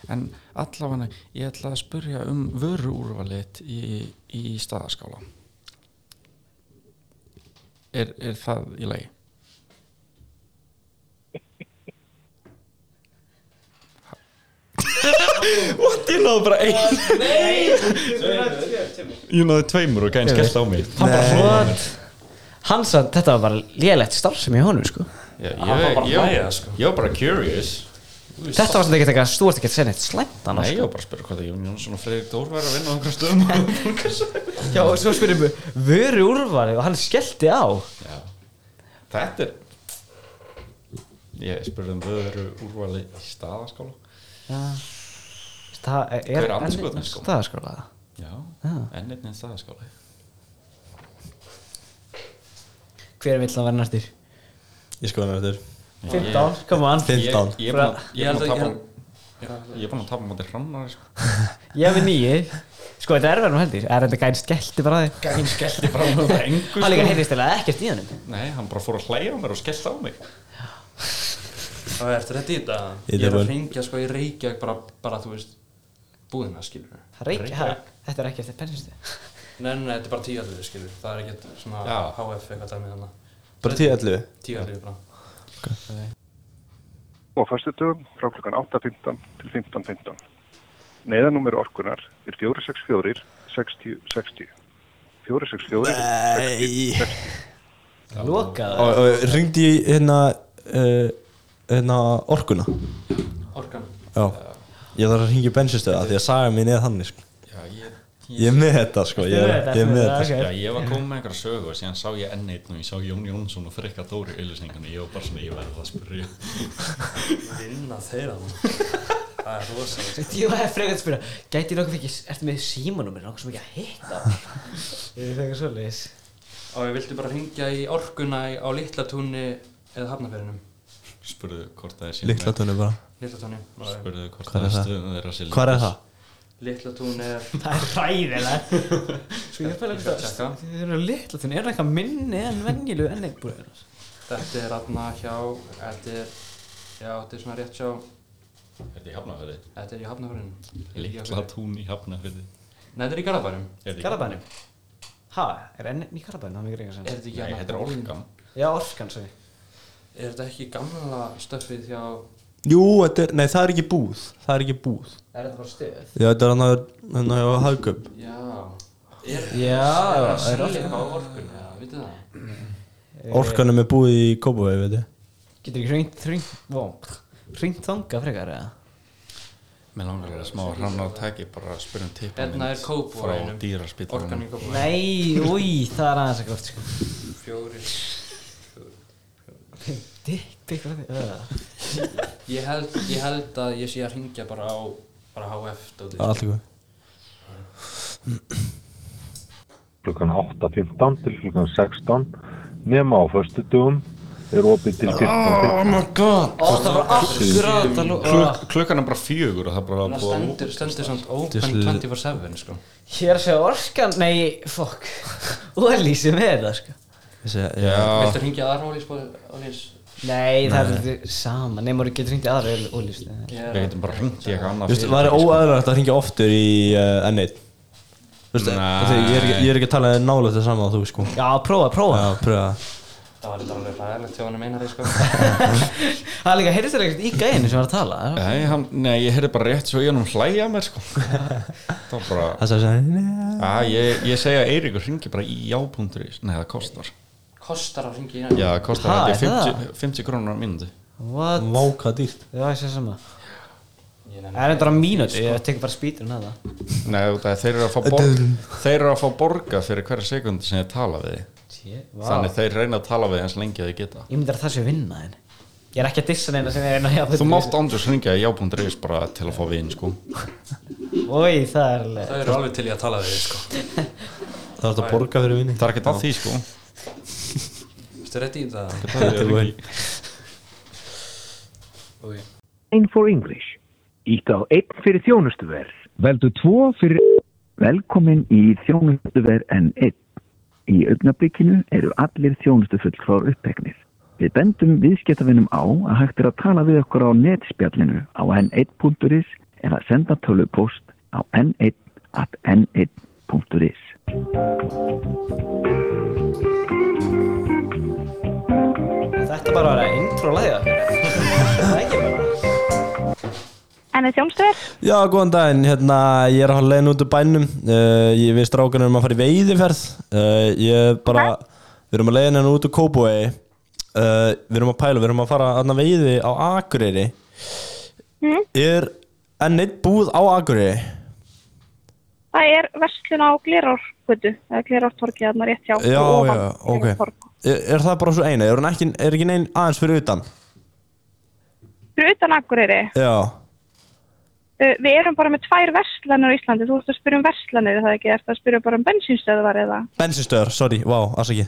Speaker 6: En allavega, ég ætla að spurja um vöruúrvalit í, í staðaskála. Er, er það í lagi?
Speaker 3: What, ég náði bara einn Ég náði tveimur og gæn skellt á mig Það bara
Speaker 1: What? Hansa, þetta var bara lélegt starf sem ég honum sko
Speaker 3: Já, ég,
Speaker 4: Hann var bara
Speaker 3: ég,
Speaker 4: að hlæja,
Speaker 3: ég,
Speaker 4: sko.
Speaker 3: ég var bara curious
Speaker 1: Þetta var svona ekkert eitthvað, þú ert ekki að segja neitt slæmt annars sko.
Speaker 3: Nei, ég var bara að spyrja hvað það Jón Jónsson og Freyrik Dór væri að vinna á einhverjum stöðum
Speaker 1: Já, og svo spyrum við, vöru úrvalið og hann skellti á
Speaker 3: Já. Þetta er Ég spurði um vöru úrvali í staðaskála
Speaker 1: Það er
Speaker 3: Hver er andskotinn,
Speaker 1: enn-
Speaker 3: sko?
Speaker 1: staðarskóla
Speaker 3: Já,
Speaker 1: Já.
Speaker 3: enn einn staðaskála
Speaker 1: Hver vill það vera næstir?
Speaker 2: Ég skoði hann eftir
Speaker 1: 15, come on
Speaker 2: 15
Speaker 3: Ég er búinn að- ég
Speaker 4: Ég
Speaker 3: er
Speaker 4: held að-
Speaker 3: búinn að tapa
Speaker 4: ég-
Speaker 3: Ég er búinn að tapa mátir hrannar sko.
Speaker 1: Ég hef við nýju Sko, þetta er verið nú heldur, er þetta gæn skellti bara á þig
Speaker 3: Gæn skellti frá mér það engu sko.
Speaker 1: Hann líka heyrðist eða ekkert í hann
Speaker 3: Nei, hann bara fór að hlæja á mér og skellt á mig
Speaker 4: Það er eftir þetta í þetta Ég
Speaker 2: Í
Speaker 4: er
Speaker 2: tilbúin.
Speaker 4: að ringja sko í Reykjavík bara, bara þú veist Búðina skilur
Speaker 1: Reykja, ha, þetta er ekki eftir penninstu
Speaker 4: Nei, nei, nei, þetta er bara tíallu skilur Það er ekkert svona
Speaker 3: Já.
Speaker 4: HF eitthvað dæmi þannig
Speaker 2: Bara 10-11
Speaker 4: Tíallu bara
Speaker 10: Og fyrstutöfum frá klukkan 8.15 til 15.15. Neiðanúmer orkunar er 464 60 60. 464
Speaker 2: Nei
Speaker 1: Lokaður
Speaker 2: Og og ringdi ég hérna uh, Hérna orkuna
Speaker 4: Orkan
Speaker 2: Já Ég þarf að ringja í bensinstöða Því að saga mín er þannig sko
Speaker 3: Já, ég,
Speaker 2: Ég er með þetta sko Ég er, ég er með þetta sko.
Speaker 3: já, ég var komið með einhverja sögu og síðan sá ég enn einn og ég sá Jón Jónsson og Freyka Dóri í auðlýsningunni Ég var bara svona, ég verði að spyrja
Speaker 4: Vinna þeirra nú. Það er rosalegt
Speaker 1: Veit ég var frekar að spyrja Gæti nokkuð fyrir, ertu með símanúmer Nókuð sem ekki að hitta Ég veit eitthvað svoleiðis
Speaker 4: Og ég vildi bara ringja í orkuna í- á Littlatúni eða Hafnafjörðinum
Speaker 3: Spurðu hvort það er síðan
Speaker 2: Líkla tónu bara
Speaker 4: Littlatúni
Speaker 3: Spurðu hvort
Speaker 2: Hvar er
Speaker 3: það er
Speaker 2: það?
Speaker 3: stöðum þeirra sér
Speaker 2: Hvar er það?
Speaker 4: litla tún er
Speaker 1: Það er hræðilegt Sko ég fæla
Speaker 4: Ég skal
Speaker 1: þetta
Speaker 4: checka.
Speaker 1: Þið eru litla þunni, er það eitthvað minni en venjilu enneigbúrið
Speaker 4: Þetta er aðna hjá, þetta er, já, þetta er svona rétt hjá
Speaker 3: Þetta er í Hafnarfirði.
Speaker 4: Þetta er í hafnafyrin
Speaker 3: Litla tún í hafnafyrði
Speaker 4: Nei, þetta er í Garabænum
Speaker 3: Er þetta í
Speaker 1: Garabænum? Ha, er enn í Garabænum? Það er mikið reyngar
Speaker 4: Er þetta ekki Nei, hérna þetta er búinn? Orkan.
Speaker 1: Já, orkan segi
Speaker 4: Er þetta ekki gamla stöfið hjá
Speaker 2: Jú, þetta er, nei það er ekki búð Það er ekki búð
Speaker 1: Er þetta bara stöð?
Speaker 2: Já, þetta er hann að, hann að hafa haugum
Speaker 4: Já Er
Speaker 1: Já,
Speaker 4: er
Speaker 1: er
Speaker 4: það að
Speaker 1: orkan.
Speaker 4: selja á orkun, já, vitið það
Speaker 2: Eh. Orkanum er búið í Kópavöi, veit ég
Speaker 1: Getur ekki hringt, hringt, vó Hringt þanga frekar eða?
Speaker 6: Mér langar að smá hrann á tæki bara að spyrja um tippa
Speaker 4: Hérna er
Speaker 6: frá
Speaker 4: Kópavoginum. Orkan í
Speaker 6: dýraspítanum
Speaker 4: Kópavogi.
Speaker 1: Nei, úi, það er aðeins ekki oft sko
Speaker 4: Fjórir
Speaker 1: Dikk, dikk, dikk
Speaker 4: Ég held, ég held að ég sé að ringja bara á, bara HF dótið.
Speaker 2: Allt í góðu.
Speaker 10: klukkan 8.15 til klukkan 16 nema á föstudugum er opið til 14.15
Speaker 6: Oh my god
Speaker 1: Ó, það var akkurat að lú-
Speaker 6: Klukk- Klukkan er bara fjögur og það er bara
Speaker 4: Það
Speaker 6: búið að
Speaker 4: stendur, stendur samt open
Speaker 6: Þessi-
Speaker 4: 24-7 sko
Speaker 1: Hér sé orkan, nei, fokk Óli sem er það sko
Speaker 2: Þessi,
Speaker 3: Ah.
Speaker 4: Viltu ringja aðra ólís ólís?
Speaker 1: Nei, það er þetta sama Nei, maður getur hringt í aðra sko. Óli
Speaker 4: Við
Speaker 6: Við getum bara hringt í eitthvað annað sko.
Speaker 2: Þú veist, það er óæðilegt að hringja oftur í uh, N1 Þú veist,
Speaker 6: Nei.
Speaker 2: þetta- ég er, ekki- ég er ekki að tala nálega þetta sama að þú, sko
Speaker 1: Já, prófa, prófa
Speaker 2: Já, pröfa
Speaker 4: Það var þetta alveg ræðilegt hjá hann meinar sko
Speaker 1: Það er líka, heyrðist þér ekkert í gæðinu sem var að tala það?
Speaker 6: Nei, hann, nei, ég heyrði bara rétt svo í hann hlæja mér sko Það var bara
Speaker 2: Það sagði það
Speaker 6: Að, ég, ég segja að Eiríkur ringi bara í já.ri Nei, það kostar
Speaker 4: Kostar að ringja í
Speaker 6: Já,
Speaker 4: hann
Speaker 6: það kostar
Speaker 1: Ha,
Speaker 6: ha,
Speaker 1: er
Speaker 6: 50, 50 krónur á mínúti
Speaker 1: What?
Speaker 2: Váka dýrt
Speaker 1: Já, ég sé sama
Speaker 4: Ég nenni
Speaker 1: Það er endur á mínúti, ég tek bara spýtur um að það
Speaker 6: Nei, út af því að þeir eru að fá borga Þeir eru að fá borga fyrir hverja sekundi sem ég tala við þig
Speaker 1: Tjé, vá
Speaker 6: Þannig þeir reyna að tala við þig eins lengi að þið geta
Speaker 1: Ég myndi að það sé vinna þinn Ég er ekki að dissa neina sem ég er hérna einn að
Speaker 6: Þú mátt andjós ringja í já.ri bara til að fá vin sko
Speaker 1: Ói, það er alveg
Speaker 4: Það eru alveg til ég að tala við þig sko
Speaker 2: Það er að borga fyrir vinning
Speaker 6: Það er ekkert að því sko
Speaker 4: Ertu rétt í það?
Speaker 6: Það er ekki
Speaker 10: Nine for English Ítt á einn fyrir þjónustuverð Veldu tvo fyrir Velkomin í þjónustuverð en einn Í augnablikinu eru allir þjónustufull frá uppteknir Við bendum viðskiptavinnum á að hægt er að tala við okkur á netspjallinu á n1.is eða senda tölupost á n1 at n1.is
Speaker 1: Þetta bara var að intro læða Það er ekki bara
Speaker 9: En er þjónstöður?
Speaker 2: Já, góðan daginn, hérna, ég er að leiðin út úr bænum uh, Ég við strákunum erum að fara í veiðiferð uh, Ég bara, við erum að leiðin hérna út úr Kópavöi uh, Við erum að pæla, við erum að fara að veiði á Akureyri Er N1 búð á Akureyri?
Speaker 9: Það er verslun á Glerárkvötu, eða Glerártorki, þarna rétt hjá.
Speaker 2: Já,
Speaker 9: og ofan
Speaker 2: já, ok
Speaker 9: Glerártorg.
Speaker 2: er, er það bara svo eina? Er, hún ekki, er ekki neinn aðeins fyrir utan?
Speaker 9: Fyrir utan Akureyri,
Speaker 2: Já,
Speaker 9: uh, við erum bara með tvær verslanir á Íslandi, þú ert að spyrja um verslanir, er það ekki, ert að spyrja bara um bensinstöðvar eða?
Speaker 2: bensinstöðar, sorry, vá, wow, afsaki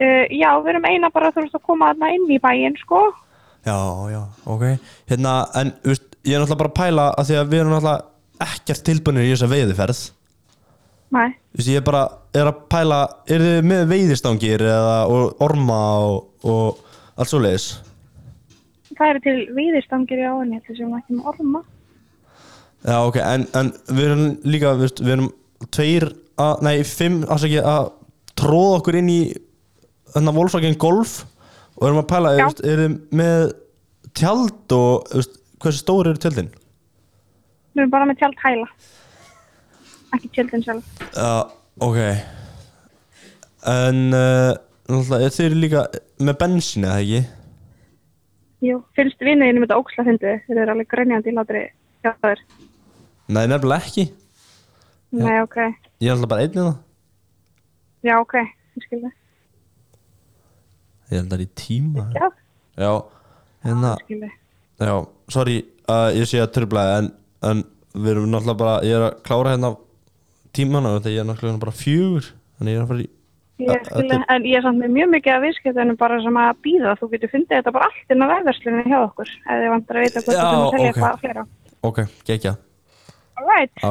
Speaker 9: Uh, já, við erum eina bara þú ert að koma þarna inn í bæinn, sko.
Speaker 2: Já, já, ok Hérna, en þú veist, ég er náttúrulega bara að pæla að því að við erum náttúrulega ekkert tilbúinir í þessa veiðiferð Þú
Speaker 9: Nei,
Speaker 2: veist, ég er bara, er að pæla Er þið með veiðistangir eða og orma og, og allt svo leiðis
Speaker 9: það eru til viðistangir í áinni, þetta sem ekki með orma.
Speaker 2: Já, ok, en, en við erum líka, þú veist, við erum tveir að, nei, fimm, afsaki að tróða okkur inn í þennan volfsakinn golf og erum að pæla,
Speaker 9: Já.
Speaker 2: þú veist, er þið með tjald og, þú veist, hversu stóri eru tjaldin?
Speaker 9: Við erum bara með tjald hæla, ekki tjaldin sjálf.
Speaker 2: Já, ok En uh, náttúrulega, þeir eru líka með bensín eða ekki?
Speaker 9: Jú, finnst vinniðinu með þetta óksla fyndið, þeir eru alveg grænjandi í látri hjá þér.
Speaker 2: Nei, nefnilega ekki
Speaker 9: Nei, ok,
Speaker 2: Ég er alltaf bara einn hérna. eða
Speaker 9: já, ok, ég skil það.
Speaker 2: Ég er alltaf í tíma
Speaker 9: Já,
Speaker 2: Já, hérna,
Speaker 9: skil það.
Speaker 2: já, sorry uh, Ég sé að trubla en, en við erum náttúrulega bara Ég er að klára hérna tímana Þegar ég er náttúrulega hérna bara fjögur Þannig ég er að fara í
Speaker 9: Ég
Speaker 2: Ö-
Speaker 9: skilja, en ég er samt með mjög mikið af viðskiptunum bara sem að býða, þú getur fundið þetta bara allt inn á vefverslunni hjá okkur, ef þið vantar að vita hvort
Speaker 2: Já,
Speaker 9: þú þurfum að selja
Speaker 2: ok.
Speaker 9: eitthvað fleira.
Speaker 2: Ok, gegja
Speaker 9: Alright,
Speaker 2: Já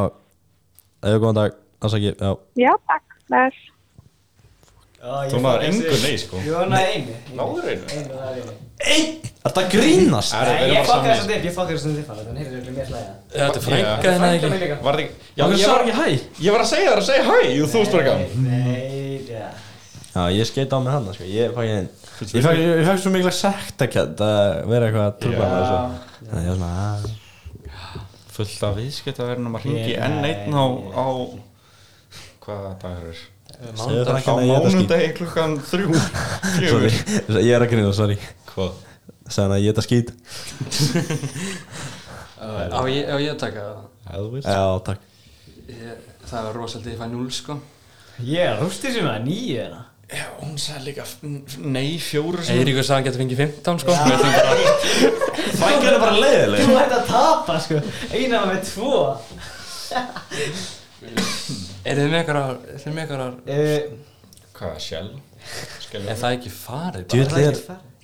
Speaker 2: Eða góðan dag, aðsaki, já
Speaker 9: já takk, bless.
Speaker 3: Þú náður engu nei, sko.
Speaker 1: Ég var náður einu
Speaker 3: Náður einu?
Speaker 1: Einu náður einu
Speaker 2: Er þetta grínast?
Speaker 3: Er það
Speaker 1: Nei,
Speaker 3: verið
Speaker 1: ég
Speaker 3: bara
Speaker 1: fokkar
Speaker 3: saman?
Speaker 1: þessum dipp, ég fokkar þessum dipp Þannig hefur við mér slæða
Speaker 6: Þetta er frænka þinn
Speaker 1: Frænka
Speaker 6: eða
Speaker 1: mín líka.
Speaker 6: ekki?
Speaker 3: Var það ekki Já,
Speaker 6: Okkur
Speaker 3: ég
Speaker 6: sagði
Speaker 3: var
Speaker 6: ekki hæ?
Speaker 3: Ég var að segja þér að segja hæ Jú, þú veist bara gaman
Speaker 1: Nei, já
Speaker 2: Já, ég skeit á mig hann, sko Ég fæk einn Ég fæk, ég fæk svo mikla sektakent að vera eitthvað að sko. trúpa með þessu Þannig ég var svona "Ah, að
Speaker 6: Fullt af viðskiptaverðinum um að ringi
Speaker 1: Ég-
Speaker 6: enn einn á, á
Speaker 3: Hvaða dagur er?
Speaker 2: Segðu það ekki
Speaker 3: Á
Speaker 2: að ég þetta skít
Speaker 3: mánundegi klukkan þrjú
Speaker 2: Sorry,
Speaker 3: Fjögur
Speaker 2: ég er að grínast, sorry
Speaker 3: Hvað?
Speaker 2: Segðu hann að ég þetta skít
Speaker 4: Á ég, á ég að taka það?
Speaker 3: Hefðu vilt
Speaker 2: Já, takk
Speaker 4: Ég, Eh, það var rosalega ég fæ 0 sko
Speaker 1: Ég rústi sem að nýju hérna
Speaker 6: Já, hún sagði líka f- f- nei fjóru sem
Speaker 4: Eiríkur sagði hann getur fengið 15 sko Mér finnst bara-
Speaker 2: Fæk hann er bara leiðileg
Speaker 1: Þú ert að tapa, sko Eina með tvo
Speaker 4: Er þið með einhverjar, þið með einhverjar
Speaker 1: Eh,
Speaker 3: Hvað, sjálf?
Speaker 4: Er það ekki farið bara?
Speaker 2: Djúlið er,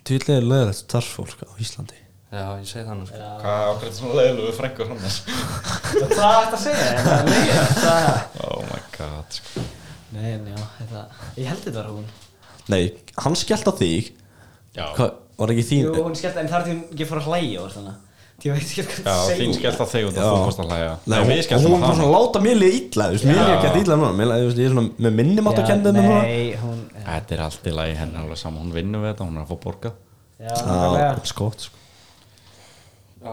Speaker 2: djúlið er leiðilegt starfsfólk á Íslandi
Speaker 4: Já, ég segi það nú sko
Speaker 3: Hvað ákveður svona leiðilegu frængur hann er?
Speaker 1: Hvað er þetta að segja? Er Það er leiðilegt, það er
Speaker 3: Oh my god sko.
Speaker 1: Nei, en já, þetta Ég held þetta var hún
Speaker 2: Nei, hann skellt á þig
Speaker 3: Já
Speaker 2: Hva, Var ekki þín
Speaker 1: Jú, hún skellt En þar til hún ekki fór að hlæja og þannig Því ég veit ekki hvað
Speaker 3: Já,
Speaker 1: það segja
Speaker 3: þín skellt að þig og
Speaker 2: Já.
Speaker 3: það þú fórst að hlæja
Speaker 2: Nei,
Speaker 3: Nei, við
Speaker 2: hún,
Speaker 3: skelltum
Speaker 2: hún
Speaker 3: að
Speaker 2: var svona
Speaker 3: hana
Speaker 2: að láta mér liða illa þú veist, Mér liða ekki illa núna mér, liði, þú veist, Ég er svona með minnimátt að kenda
Speaker 1: Já,
Speaker 2: núna
Speaker 1: Nei, hún Já,
Speaker 3: Þetta er allt í lagi henni alveg saman Hún vinnur við þetta, hún er að fá borgað
Speaker 1: nákvæmlega.
Speaker 2: Já, skott sko.
Speaker 4: Æ,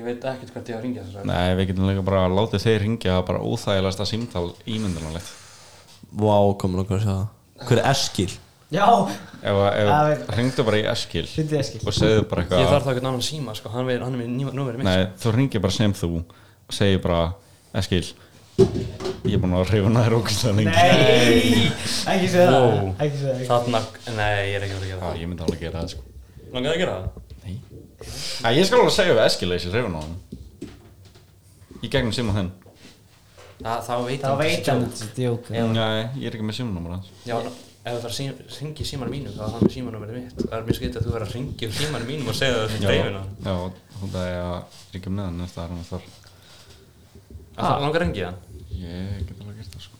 Speaker 4: Ég veit ekkert hvað ég á að ringja þess að
Speaker 3: Nei, við getum líka bara að láta þeir ringja bara óþægilegasta símtal ímyndunarlegt
Speaker 2: Vá, komin okkur að sjá það Hver er Eskil?
Speaker 1: Já,
Speaker 3: Ef, ef
Speaker 1: Já, við-
Speaker 3: ringdu bara í Eskil
Speaker 1: Hringdu í Eskil.
Speaker 3: og segðu bara eitthvað
Speaker 4: Ég þarf þá eitthvað annan síma sko Hann er, hann er með númerið mitt
Speaker 3: Nei, þú ringir bara sem þú og segir bara Eskil Ég er búin að reyfuna þér okkur það lengi
Speaker 1: nei Ekki segja það
Speaker 4: Wow.
Speaker 1: Ekki segja það
Speaker 4: Þarna, nei, ég er ekki að fara að gera
Speaker 3: Já, ég myndi alveg að gera það sko
Speaker 4: það Langaði að gera það?
Speaker 3: Æ, Ég skal alveg segja við Eskil að ég sé reyfuna á hann Í gegnum síma þinn
Speaker 4: Þa, Þá veit
Speaker 1: Þá
Speaker 4: hann
Speaker 1: veit hann þetta er djók
Speaker 3: Nei, ég er ekki með símanúmer hans
Speaker 4: Já, ef það sí, ringi símanum mínum þá er það með símanumverið mitt Það er mér skeitt að þú verður að ringi um símanum mínum og segja það fyrir dreifina
Speaker 3: Já, hún það er að ringa um neðan eftir að hann þar
Speaker 4: Það langar að ringi hann
Speaker 3: Ég get alveg gert það sko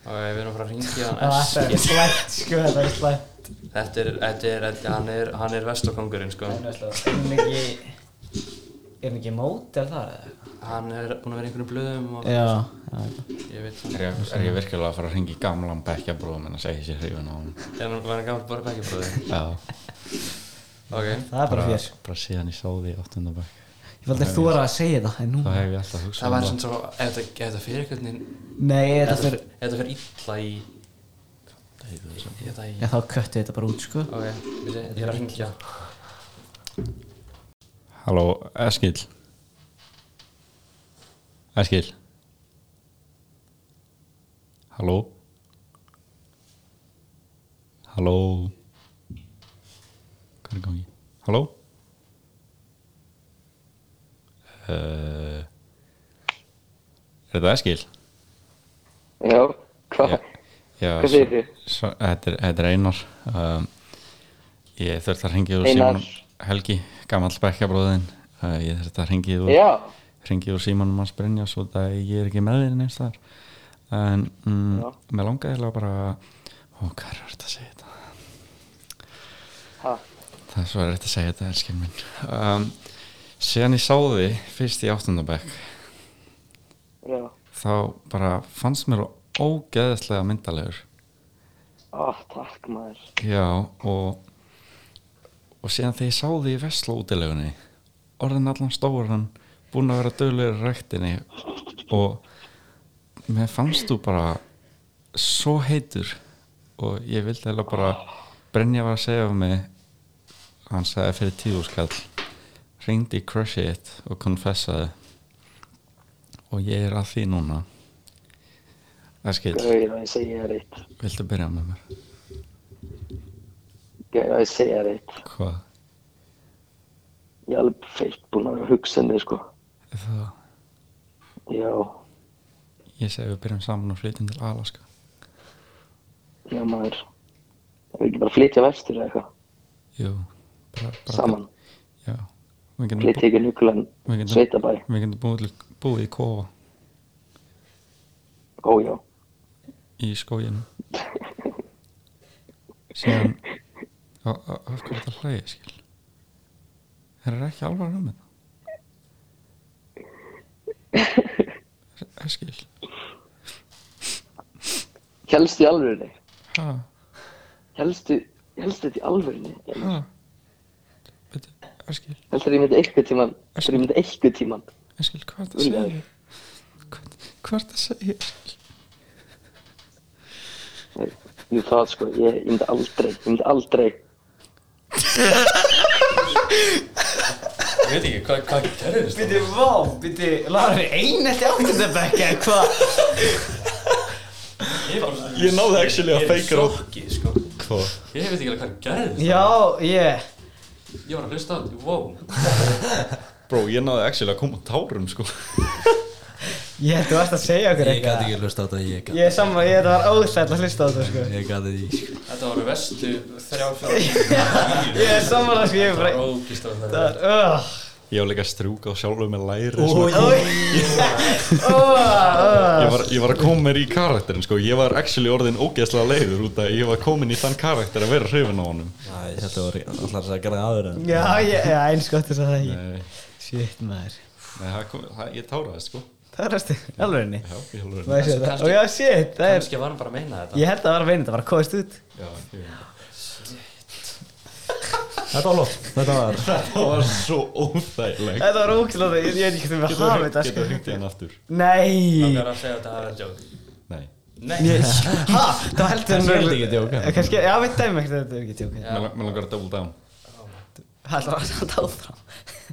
Speaker 4: Ok, við erum að fara að ringja
Speaker 1: Þetta er slæmt, sko Þetta er slæmt
Speaker 4: Þetta er, þetta er, þetta er, hann er, hann er vestlokongurinn sko
Speaker 1: En veist það, Er hún ekki Er hún ekki mótel þar eða?
Speaker 4: Hann er búin að vera í einhvern blöðum og
Speaker 1: Já, já
Speaker 4: ég veit
Speaker 3: Er ég, er ég virkilega að fara að ringa í gamlan bekkja bróðum en að segja sér hrifin á hann?
Speaker 4: Er hann var hann gammal bara bekkjabröði?
Speaker 3: Já,
Speaker 4: Ok
Speaker 1: Það er bara fyrir
Speaker 3: bara síðan ég sá því áttunda bekk.
Speaker 1: Ég valdi að þóra að segja það En nú
Speaker 3: Þá hef ég alltaf hugsað um
Speaker 4: Það var sem svo, ef þetta- ef þetta fyrir einhvern veginn
Speaker 1: Nei, ég er
Speaker 4: Ef
Speaker 1: þetta fyrir
Speaker 4: ef þetta fyrir illa í Ég veit það í
Speaker 1: Já, þá köttu þetta bara út, sko
Speaker 4: Ok, við segja, ég er að ringja
Speaker 3: Halló, Eskil. Eskil. Halló. Halló. Hvað er í gangi? Halló. Uh, er þetta Eskil?
Speaker 11: Já, hvað? Hvað
Speaker 3: Já, svo-
Speaker 11: segir þið?
Speaker 3: svo- Þetta er, þetta er Einar um, Ég þurfti að ringið úr
Speaker 11: Einar.
Speaker 3: símanum Helgi, gamall bekkjabróðin uh, Ég þurfti að ringið úr
Speaker 11: Já,
Speaker 3: ringið úr símanum hans Brynja svo það ég er ekki með þér neins þar en mm, mér langaði eiginlega bara ó, hvað er þetta að segja þetta
Speaker 11: Ha?
Speaker 3: það er svo er þetta að segja þetta, elskinn minn um, síðan ég sá því fyrst í áttundabæk
Speaker 11: já,
Speaker 3: þá bara fannst mér þú ógeðislega myndalegur
Speaker 11: á, takk maður.
Speaker 3: Já, og og síðan þegar ég sá því í Vesla útilegunni orðin allan stóran búin að vera döglegur í ræktinni og mér fannst þú bara svo heitur og ég vildi heila bara Brynja var að segja um mig hann sagði fyrir tíu skall reyndi í crush it og confessaði og ég er að því núna Eskil,
Speaker 11: Gauðir að ég segja þér eitt.
Speaker 3: viltu byrja með mér?
Speaker 11: Gauðir að ég segja þér eitt.
Speaker 3: Hvað?
Speaker 11: Ég er alveg feitt búin að vera að hugsa um þig, sko.
Speaker 3: Er það?
Speaker 11: Já,
Speaker 3: Ég segi við byrjum saman og flytjum til Alaska
Speaker 11: já maður. Ef við ekki bara flytja vestur eða eitthvað,
Speaker 3: Jú, bara, bara
Speaker 11: saman.
Speaker 3: Já, við getum, bú,
Speaker 11: Flytja ekki nuklan
Speaker 3: við getum,
Speaker 11: sveitabæ.
Speaker 3: við getum búið, til- búið í kofa
Speaker 10: Ó já,
Speaker 12: í skóginu síðan á- á- af hverju þetta hlæði skil þeir eru ekki alvar um þetta skil
Speaker 10: helst í alvörunni
Speaker 12: ha,
Speaker 10: Helstu, helst þetta í alvörunni
Speaker 12: ha,
Speaker 10: Helst þetta ég myndi eitthvað tíman Helst þetta ég myndi eitthvað tíman
Speaker 12: skil hvað er þetta að segja hvað er þetta að segja skil
Speaker 10: Jú það sko, ég, ég myndi aldrei Ég myndi aldrei
Speaker 4: Ég veit ekki, hvað, hvað gerðist
Speaker 1: Býtti, vá, býtti, Lári, einelti áttundabæk eða hvað?
Speaker 4: Ég náði
Speaker 13: actually að fake it
Speaker 4: á
Speaker 13: out.
Speaker 4: Sjokki, sko
Speaker 13: Hvað?
Speaker 4: Ég veit ekki alveg hvað gerðist
Speaker 1: Já, ég
Speaker 4: Ég var að hlusta á þetta, wow
Speaker 3: Bro, ég náði actually að koma á tárum sko
Speaker 1: Ég held þú varst að segja okkur
Speaker 2: Ég
Speaker 1: eitthvað
Speaker 2: gæti ekki hlusta á þetta, ég
Speaker 1: Ég er saman, ég þetta var óþæll að hlusta á þetta sko
Speaker 2: gæti Ég gæti því
Speaker 4: Þetta var vestu þrjá
Speaker 1: Ég er saman að sko, ég er bara
Speaker 4: Það var ógist á
Speaker 1: Það var, öh
Speaker 3: Ég var líka að strjúka á sjálfur með
Speaker 1: Ó,
Speaker 3: læri sko.
Speaker 1: ég- Ó, ó.
Speaker 3: Ég var, ég var að koma mér í karakterin sko Ég var actually orðin ógeðslega leiður út að ég var komin í þann karakter að vera hrifin á honum
Speaker 2: Æ, þetta var alltaf að gera það aður en
Speaker 1: Já, ég, já, eins gott þess að það ekki
Speaker 3: Nei,
Speaker 1: Shit, maður
Speaker 3: nei það kom, það, ég táraði sko
Speaker 1: Það er stu, alveg henni
Speaker 3: Já, í alvörunni.
Speaker 1: Og já, shit, það er
Speaker 4: Kannski var hann bara að meina þetta
Speaker 1: Ég held að það var að veina, þetta var að kóðast út
Speaker 2: Þetta var lott, þetta var
Speaker 3: Þetta var svo óþægilegt
Speaker 1: Þetta var ógæslega, ég ég veit ekki hvernig við
Speaker 3: Getur
Speaker 1: hafa
Speaker 3: hringt-
Speaker 1: þetta
Speaker 3: getur
Speaker 1: sko
Speaker 3: hringt í hann aftur?
Speaker 1: Nei
Speaker 4: Það er að segja að þetta hafi verið joke
Speaker 3: Nei
Speaker 4: Nei
Speaker 1: Yes. Ha, það var heldur
Speaker 2: Kannski er þetta ekki djók,
Speaker 1: en
Speaker 2: ja.
Speaker 1: Kannski, já, við dæmum ekkert að þetta er ekki djók
Speaker 3: Mér lang- mér langar að double down
Speaker 1: Það var alltaf áfram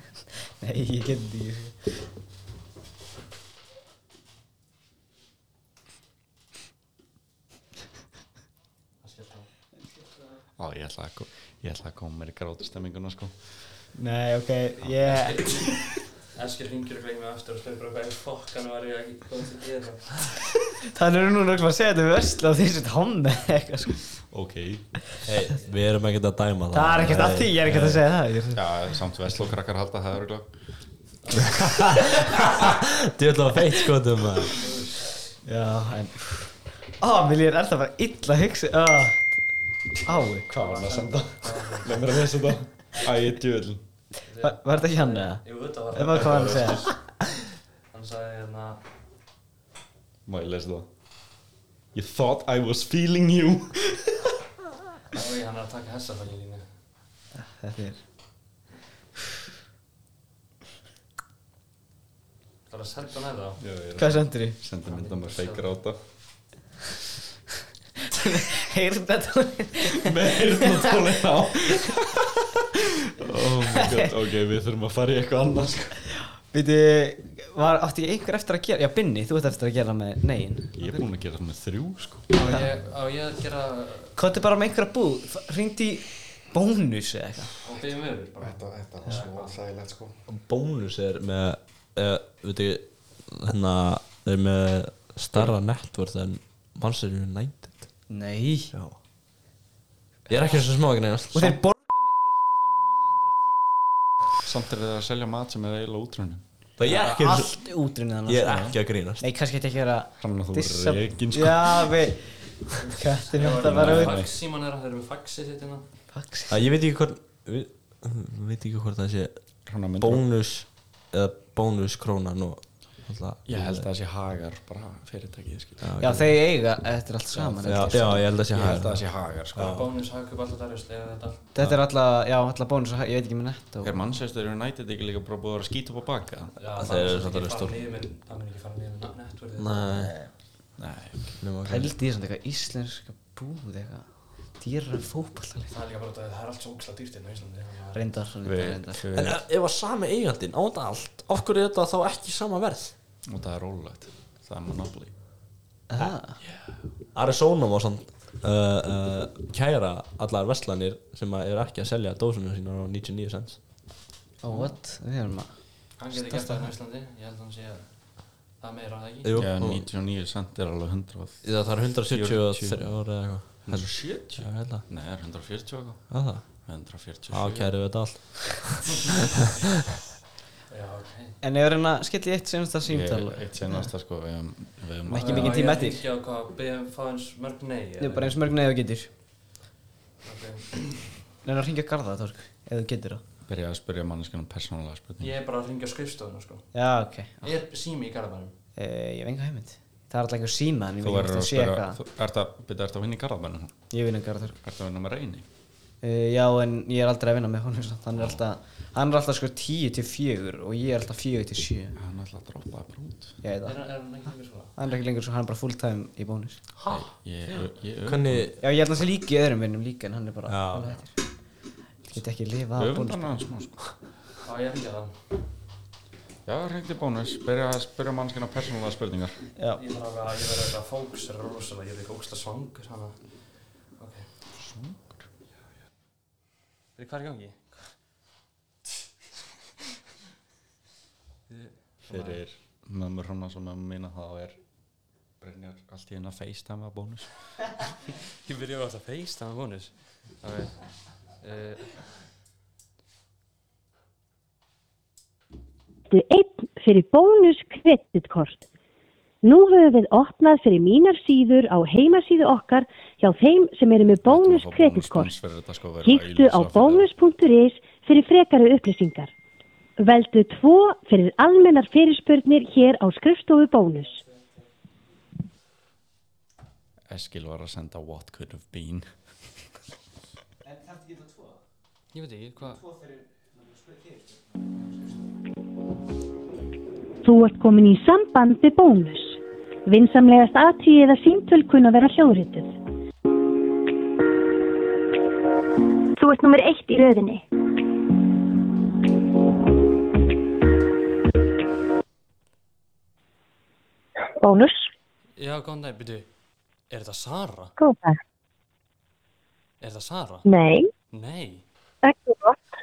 Speaker 1: Nei, ég get sko. því
Speaker 3: Á, ég ætla að, ko- ég ætla að koma mér í grátastemminguna sko
Speaker 1: Nei, ok, yeah
Speaker 4: Eskir hringir og gleymið aftur og spyrir bara hvað í fokkan var ég ekki komið til að gera
Speaker 1: Þannig eru núna örugglega að segja þetta við ösla og því sem þetta homm eða eitthvað sko
Speaker 3: Ok
Speaker 2: Hey, við erum ekkert að dæma
Speaker 1: Það er ekkert að því, ég er ekkert að segja það ég er-
Speaker 3: Já, samt vestló krakkar halda það eru glögg
Speaker 2: Djöðla feitt skotum maður
Speaker 1: Já, en Á, mér líður er það bara illa að hugsa Á, ái,
Speaker 3: Hvað var hann að senda? Leð mér að lesa þetta Æ, ég djöðl
Speaker 1: Var var þetta ekki hann eða?
Speaker 4: Jú, þetta var
Speaker 1: Þetta var hvað hann að segja
Speaker 4: Hann sagði hérna
Speaker 3: Má ég lesa það? You thought I was feeling you
Speaker 4: Æ, hann er að taka hessa fyrir línu
Speaker 1: Þetta er
Speaker 4: Það er að senda hann eða á
Speaker 1: Hvað sendirðu?
Speaker 3: Sendir mynda með fake gráta
Speaker 1: Heyrðu þetta
Speaker 3: Með heyrnatólin á Oh my god, ok, við þurfum að fara í eitthvað annað sko.
Speaker 1: Viti, var, átti ég einhver eftir að gera Já, Binni, þú ert eftir að gera með negin
Speaker 3: Ég er búinn að gera það með þrjú sko.
Speaker 4: Á ég, á ég að gera
Speaker 1: Kottu bara með einhverja búð, hringdi í bónus eða eitthvað
Speaker 4: og byrja með þér bara
Speaker 12: þetta, þetta var svo sælægt sko
Speaker 2: Bónus er með uh, Veit ekki Hérna Er með starra networth en Manchester United
Speaker 1: Nei
Speaker 2: Já Ég er ekki eins og smá ekki neina
Speaker 1: Og þeir borga
Speaker 3: Samt er það að selja mat sem er eiginlega útrunum
Speaker 2: Það ég er ekki eins og
Speaker 1: allt útrunnið hann
Speaker 2: Ég er ekki að grínast
Speaker 1: Nei, kannski ætti ekki að vera
Speaker 3: Hann að þú
Speaker 1: dissa-
Speaker 3: er rekin sko.
Speaker 1: Já, við Kattin þetta bara
Speaker 4: með
Speaker 1: út
Speaker 4: faxíman er að þeir eru með faxið þitt hérna
Speaker 1: Fax
Speaker 2: Það ég veit ekki hvort við, Veit ekki hvort það sé
Speaker 3: Hann að mynda
Speaker 2: Bónus Eða bónus krónan og alltaf-
Speaker 12: ég held að það sé hagar bara fyrirtækið
Speaker 3: sko.
Speaker 12: skil ég
Speaker 1: Já, þeir eiga, þetta er allt saman
Speaker 2: Já,
Speaker 1: þetta er-
Speaker 2: já, ég held að sé
Speaker 12: held að
Speaker 2: hægt
Speaker 12: það sé hagar sko
Speaker 4: Bónus hagkaup alltaf þar just eða þetta
Speaker 1: Þetta er alla, já, alla bónus og ég veit ekki með nett og
Speaker 3: Er Manchester United ekki líka bara búið að vera að skýta upp á baka?
Speaker 4: Já,
Speaker 2: Þeir
Speaker 4: það
Speaker 2: eru
Speaker 4: mun
Speaker 2: svolítið
Speaker 4: ekki fara
Speaker 2: stór.
Speaker 4: niður með- það mun ekki fara niður með netverðið
Speaker 2: Nei
Speaker 3: Nei,
Speaker 2: nema hvað.
Speaker 1: Pældi ég samt eitthvað íslenska búð eitthvað Dýrar en fótballtalið
Speaker 4: Það er líka bara þetta, það er allt svo ógislega dýrt hérna á Íslandi þannig að-
Speaker 1: Reyndar,
Speaker 3: við,
Speaker 1: reyndar, reyndar
Speaker 2: En eh,
Speaker 3: við,
Speaker 2: ef að sami eigandinn á þetta allt Af hverju er þetta þá ekki sama verð?
Speaker 3: og það er rólegt Það er Monopoly
Speaker 1: Ah.
Speaker 2: Arizona má samt uh, uh, kæra allar veslanir sem að er ekki að selja dósuna sína á 99 cents
Speaker 1: Oh, what? Við erum að
Speaker 4: Hann getur gert
Speaker 2: hérna.
Speaker 4: það á Íslandi, ég held að hann sé að það er meira að það ekki
Speaker 2: Jú,
Speaker 3: Já,
Speaker 2: og-
Speaker 3: 99 cent er alveg 100
Speaker 2: Já, það er 173 ára eða eitthvað
Speaker 3: 170?
Speaker 2: Já, ég held að.
Speaker 3: Nei, það er 140 eitthvað
Speaker 2: Já, það
Speaker 3: 147
Speaker 2: Ákæru við þetta allt
Speaker 4: Eh,
Speaker 1: En ég er að skilja í eitt senasta símtal
Speaker 6: Ég- eitt seinasta, sko, við höfum- við höfum-
Speaker 1: Ekki mikið tíma
Speaker 4: eftir
Speaker 1: eftir
Speaker 4: Ekki á hvað, beðum fá eins mörg nei
Speaker 1: Ég er bara eins mörg neðu getur
Speaker 4: okay.
Speaker 1: Neina að ringja garða það, Torg, ef þú getur það
Speaker 6: Byrja að spyrja manneskinu persónulega spurning
Speaker 4: Ég er bara að ringja skrifstofuna sko
Speaker 1: Já, ok
Speaker 4: Er sími í garðabænum?
Speaker 1: Eh, Ég hef enga heimild Það er alltaf einhver síma en ég
Speaker 6: Þú
Speaker 1: veit ekki
Speaker 6: verður að
Speaker 1: hvort það sé
Speaker 6: spyrja
Speaker 1: eitthvað
Speaker 6: þú- Ertu að byrja að vinna í garðabænum?
Speaker 1: Ég vinn í garðabænum
Speaker 6: Ertu að vinna með reyni?
Speaker 1: Eh, Já, en ég er aldrei að vinna með honum samt. Hann er alltaf, hann er alltaf sko 10 til 4 og ég er alltaf 4 til 7
Speaker 6: Hann er alltaf að droppa það brút
Speaker 1: Ég veit
Speaker 4: Er,
Speaker 1: það
Speaker 4: hann- er hann ekki lengur svona?
Speaker 1: Hann er ekki lengur svo, hann er bara full time í bónus
Speaker 4: Ha?
Speaker 6: Ég, ég,
Speaker 1: Hvernig Já, ég held að það líki öðrum vinnum líka en hann er bara
Speaker 6: Já.
Speaker 1: hann er hættur. Ég get ekki að lifa af
Speaker 6: Öfunda
Speaker 1: bónus
Speaker 6: hann aðeins smá, sko.
Speaker 4: Já, ég ringja það
Speaker 6: Já, hringdi í bónus, byrja að spyrja mannskina persónulega spurningar
Speaker 1: Já
Speaker 4: Ég þarf alveg að ég verði eitthvað fókus er rosalega, ég er eitthvað ógsta svangur hana Ok Svangur? Já, já Hvað er í gangi?
Speaker 6: Fyrir mömmur hana sem mömmur mína þá er Brynjar allt í henni að facetime að bónus
Speaker 4: Ég byrja alltaf að feist, það var bónus Ok uh,
Speaker 14: Þú einn fyrir bónus kreditkort. Nú höfum við opnað fyrir mínar síður á heimasíðu okkar hjá þeim sem eru með bónus kreditkort.
Speaker 6: Bónus fyrir þetta sko verður
Speaker 14: Kíktu á bónus.is fyrir frekari upplýsingar. Veldu tvo fyrir almennar fyrirspurnir hér á skrifstofu bónus.
Speaker 6: Eskil var að senda what could have been
Speaker 1: En þarf ekki það tvo?
Speaker 4: Ég veit ekki, hvað
Speaker 1: Tvo fyrir, maður spyrir þér
Speaker 14: Þú ert komin í samband við bónus. Vinsamlegast aðtíð eða síntöl kunna vera hljóðrituð.
Speaker 15: Þú ert nummer eitt í röðinni.
Speaker 14: Bónus,
Speaker 4: Já, góðan dag, byrju Er þetta Sara?
Speaker 14: góða.
Speaker 4: Er það Sara?
Speaker 14: Nei.
Speaker 4: Nei?
Speaker 14: Ekki gott.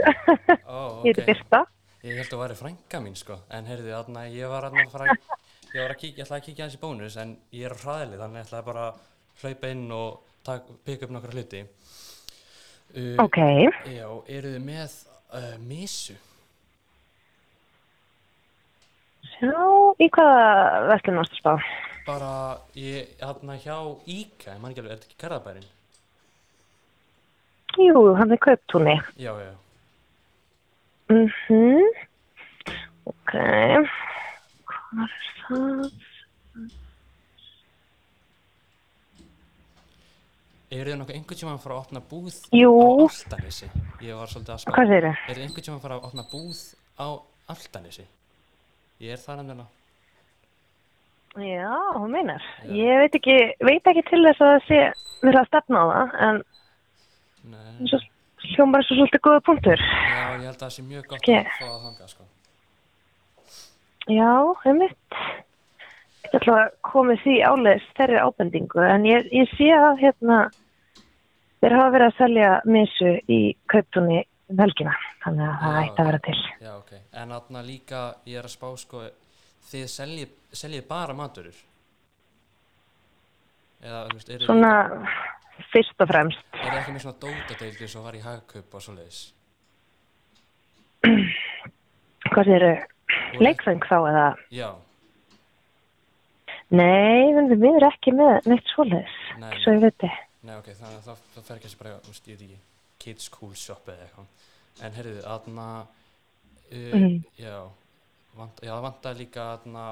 Speaker 4: Ó,
Speaker 14: Ég heiti
Speaker 4: ok.
Speaker 14: Birta.
Speaker 4: Ég held að væri frænka mín sko En heyrðu, þarna, ég var þarna að fara Ég var að kíkja, ég ætlaði að kíkja hans í bónus En ég er á hraðili, þannig ég ætlaði bara að Hlaupa inn og tak, pika upp nokkra hluti uh,
Speaker 14: Ok.
Speaker 4: Já, eru þið með uh, Mísu?
Speaker 14: Sjá, í hvaða verkefni varstu að spá?
Speaker 4: Bara, ég, þarna hjá Íka Ég man ekki alveg, er þetta ekki Garðabærin?
Speaker 14: Jú, hann er kauptúni.
Speaker 4: Já, já, já.
Speaker 14: Mhm. Ok. Hvað er það?
Speaker 4: Eru þið nokkuð einhvern tímann að fara að opna búð
Speaker 14: Jú.
Speaker 4: á Altanesi? Ég var svolítið að spá.
Speaker 14: Hvað segirðu?
Speaker 4: Eru þið einhvern tímann að fara að opna búð á Altanesi? Ég er þar um nefnilega.
Speaker 14: Já, hún meinar. Ég veit ekki, veit ekki til þess að það sé verið að stefna á það, en svo hljómar svo svolítið góða punktur.
Speaker 4: Já, ég held að það sé mjög gott
Speaker 14: Ske-
Speaker 4: að fá að þanga, sko.
Speaker 14: Já, einmitt. Ég ætla að komið því áleis þeirri ábendingu, en ég, ég sé að hérna, þeir hafa verið að selja misu í kauptunni um helgina, þannig að það
Speaker 4: Já,
Speaker 14: ætti að vera til.
Speaker 4: Já, ok. En þarna líka, ég er að spá, sko, þið seljið, seljið bara maturur? Eða, þú veist, eru
Speaker 14: Svona fyrst og fremst.
Speaker 4: Eru þið ekki með svona dótadeildi sem var í hagkaup og svoleiðis?
Speaker 14: Hvað þeir eru leikfeng þá eða?
Speaker 4: Já,
Speaker 14: Nei, við við erum ekki með neitt svoleiðis,
Speaker 4: Nei,
Speaker 14: svo ég
Speaker 4: nei.
Speaker 14: veit þið.
Speaker 4: Nei, ok, þannig að það, það fer kannski bara, þú veist, ég veit ekki, kids cool shop eða eitthvað. En heyrðu, aðna, uh,
Speaker 14: Mhm.
Speaker 4: já, vant, já, það vantaði líka, aðna,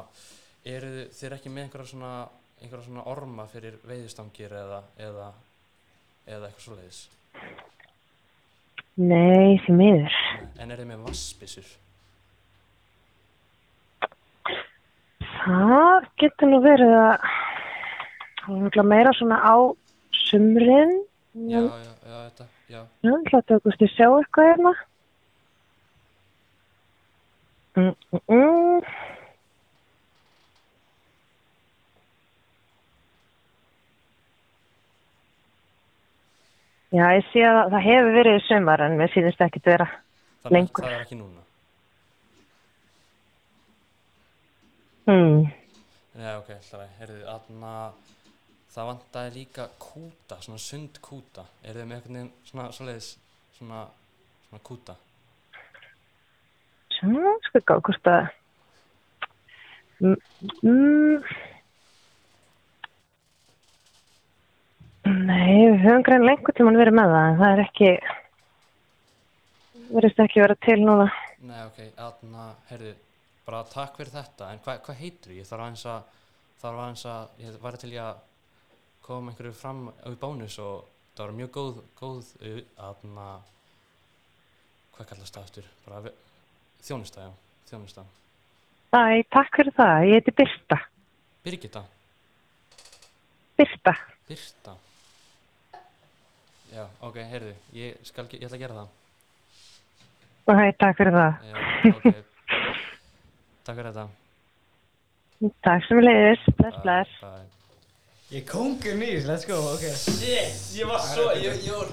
Speaker 4: eru þið- þið eru ekki með einhverja svona, einhverja svona orma fyrir veiðistangir eða, eða, eða eitthvað svoleiðis.
Speaker 14: Nei, því miður.
Speaker 4: En eru þið með vassbissur?
Speaker 14: Það getur nú verið að það er náttúrulega meira svona á sumrin.
Speaker 4: Já, já, já, þetta, já.
Speaker 14: Já, ætla að tökum stu sjá eitthvað hérna. Mm, mm, mm. Já, ég sé að það hefur verið í sumar en mér sýnist ekki vera
Speaker 4: Þannig að
Speaker 14: lengur.
Speaker 4: það er ekki núna.
Speaker 14: Hmm.
Speaker 4: Já, ok, hlæði, heyrðu, aðna, það vantaði líka kúta, svona sund kúta. Eru þið með einhvern veginn svona, svoleiðis, svona, svona kúta?
Speaker 14: nú, skugga á sko, hvort að mm, mm, Nei, við höfum grein lengur tímann verið með það en það er ekki verðist ekki vera til núna
Speaker 4: Nei, ok, aðna, heyrðu, bara takk fyrir þetta, en hvað hva heitir ég? Þarf aðeins að, þarf aðeins að, ég væri til ég að koma einhverju fram á í bónus og það var mjög góð, góð, uh, aðna, hvað kallast það aftur? Bara ve- þjónusta, já, þjónusta.
Speaker 14: Æ, takk fyrir það, ég heiti Birta
Speaker 4: Birgitta,
Speaker 14: Birta,
Speaker 4: Birta. Já, ok, heyrðu, ég skal, ge- ég ætla að gera það.
Speaker 14: Æ, takk fyrir það
Speaker 4: Já, ok, takk fyrir þetta.
Speaker 14: Takk sem leiðis, bless, bless
Speaker 1: Ég kongur nýr, let's go, ok
Speaker 16: Shit, ég var svo, ég, ég var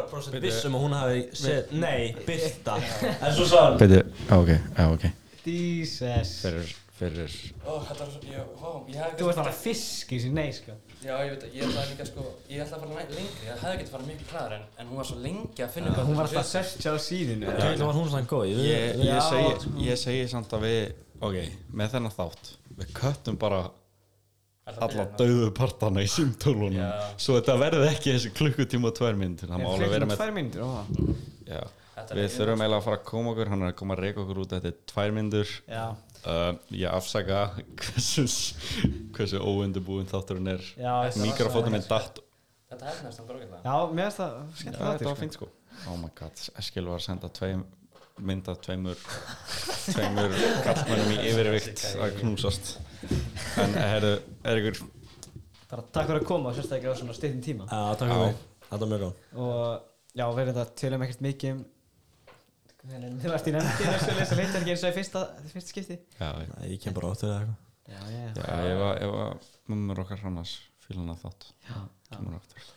Speaker 16: 100% vissum um að hún hafi sett, nei, Birta En svo sá hann
Speaker 3: Beidu, á, ok, á, ok
Speaker 1: Jesus
Speaker 3: Fyrir, fyrir
Speaker 4: Ó, þetta var svo, ég, vá, ég hef
Speaker 1: Þú ert bara fisk í sér, nei, sko
Speaker 4: Já, ég veit, ég ætlaði líka sko, ég ætlaði að fara næ- lengri, ég hefði getið að fara miklu hraðar en, en hún var svo lengi að finna upp
Speaker 1: Hún var alltaf
Speaker 4: þessa
Speaker 1: að searcha á síðinu
Speaker 3: Já. Ég, ég,
Speaker 1: sko.
Speaker 3: segi, ég segi samt að við Ok, með þennan þátt Við köttum bara alla
Speaker 4: hérna,
Speaker 3: döðu partana í símtólunum Svo þetta verði ekki þessi klukkutíma og tvær myndir Það má alveg vera með
Speaker 1: Tvær myndir, ó
Speaker 3: Já,
Speaker 1: Þetta er sko.
Speaker 3: við
Speaker 1: einmitt.
Speaker 3: þurfum eiginlega að fara að koma okkur Hann er að koma að reyka okkur út Þetta er tvær myndir
Speaker 1: Já.
Speaker 3: Uh, ég afsaka hversu, hversu óundubúin þátturinn er
Speaker 1: Já, þetta var
Speaker 3: Mikrofónum
Speaker 1: svona-
Speaker 3: er datt
Speaker 4: Þetta hefnast hann bara okkur
Speaker 1: Já, mér finnst það skemmt
Speaker 3: Já, þetta var fint sko Oh my god, Eskil var að senda tveim, mynd af tveimur tveimur kallmönnum í yfirvikt að knúsast en herru, er ykkur
Speaker 1: Bara takk fyrir að koma, sérstaklega á svona steytin tíma
Speaker 2: Já, takk fyrir mig. Þetta var mjög góð
Speaker 1: Og já, við erum þetta tölum ekkert mikið um Þú ert í nefndinu, þessu lesa leitt ekki eins og í fyrsta, fyrsta skipti
Speaker 3: Já, ég,
Speaker 2: ég kem bara áttur eða
Speaker 1: Já,
Speaker 3: eitthvað
Speaker 1: já.
Speaker 3: Já, ég var, ég var mömmur okkar hrannars fílan að þátt kemur aftur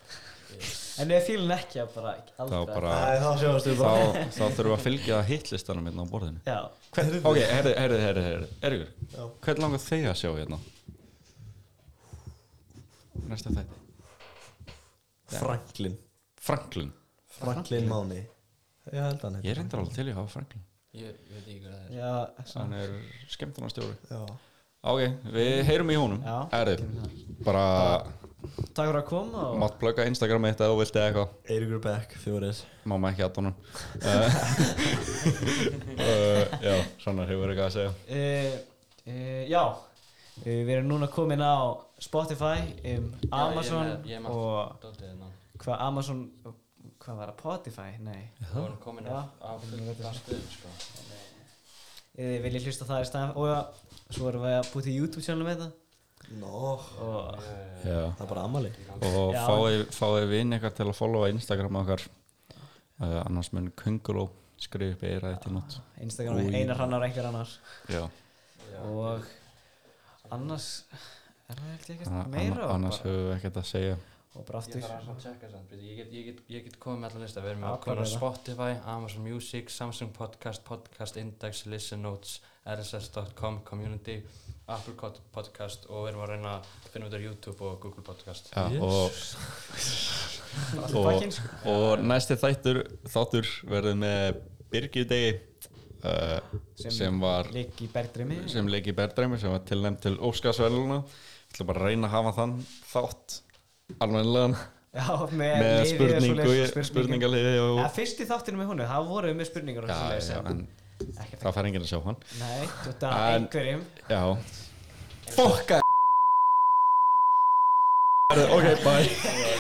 Speaker 1: En ef fílun ekki, að bara
Speaker 3: þá
Speaker 1: aldrei
Speaker 3: bara þá, þá þurfum við að fylgja hitlistanum hérna á borðinu
Speaker 1: Já.
Speaker 3: Hvern, ok, herru, herru, herru, herru er ykkur, hvern langar þig að sjá hérna næsta þætti
Speaker 2: Franklin
Speaker 3: Franklin
Speaker 2: Franklin Máni Ég held hann
Speaker 3: Ég er endur alveg til í að hafa Franklin
Speaker 4: Ég ég veit ekki hvað það er.
Speaker 1: Já,
Speaker 3: Hann er skemmtunarstjóri
Speaker 2: Já
Speaker 3: Ok, við heyrum í honum
Speaker 1: Já,
Speaker 3: Erðu, bara
Speaker 1: Takk fyrir að koma og
Speaker 3: Mátt plugga Instagram mitt eða þú vilt eða eitthvað
Speaker 2: Eirikur Beck, fjóris
Speaker 3: Máma ekki að honum uh, Já, svona hefur eitthvað að segja
Speaker 1: uh, uh, Já uh, Við erum núna komin á Spotify um,
Speaker 4: ég er
Speaker 1: Amazon
Speaker 4: með- ég er með allt
Speaker 1: og
Speaker 4: dótið hérna.
Speaker 1: hvað Amazon hvað var það, Spotify? Nei
Speaker 4: Við vorum komin
Speaker 1: Já.
Speaker 4: af, af fullt af stöðum sko.
Speaker 1: Ef þið viljið Eh, hlusta á það í staðan og já, svo erum við að búið til YouTube channel með það
Speaker 2: Nó
Speaker 1: og,
Speaker 3: Já.
Speaker 2: Það er bara ammali
Speaker 3: Og
Speaker 1: Já.
Speaker 3: fáið fái vinn eitthvað til að followa Instagram okkar uh, Annars mun Kunguló skrifa upp eira eitt í nótt
Speaker 1: Instagram er
Speaker 3: Új.
Speaker 1: einar hannar einhver annar
Speaker 3: Já.
Speaker 1: og annars er það held ég
Speaker 3: Anna-
Speaker 1: ekkert meira um
Speaker 3: Annars höfum við ekkert að segja
Speaker 1: og bara aftur
Speaker 4: Ég þarf að checka samt, byrju, ég get, ég get, ég get komið með allan lista, við
Speaker 1: Já,
Speaker 4: erum að koma á
Speaker 1: hvað er það?
Speaker 4: Spotify, Amazon Music, Samsung Podcast, Podcast Index, Listen Notes, RSS.com, Community, Apple Pod- Podcast og við erum að reyna að finna út á YouTube og Google Podcast.
Speaker 3: Já, og, og,
Speaker 1: sko.
Speaker 3: og næsti þættur þáttur verður með Birgjudegi uh,
Speaker 1: Sem
Speaker 3: sem, var
Speaker 1: lék í Bergdreymi.
Speaker 3: sem leik í Bergdreymi sem var tilnæmt til Óskarsveluna við ætlum bara að reyna að hafa þann þátt alveglegan
Speaker 1: Já, með, liðið
Speaker 3: með
Speaker 1: og
Speaker 3: spurningu,
Speaker 1: svoleiðis og
Speaker 3: spurningaliði og,
Speaker 1: ja, Fyrst í þáttinu með honu, það voru með spurningar og
Speaker 3: já,
Speaker 1: svoleiðis,
Speaker 3: já, en það fær enginn að sjá hann
Speaker 1: Nei, þú ert að
Speaker 3: En-
Speaker 1: einhverjum
Speaker 3: já fokka ok, bye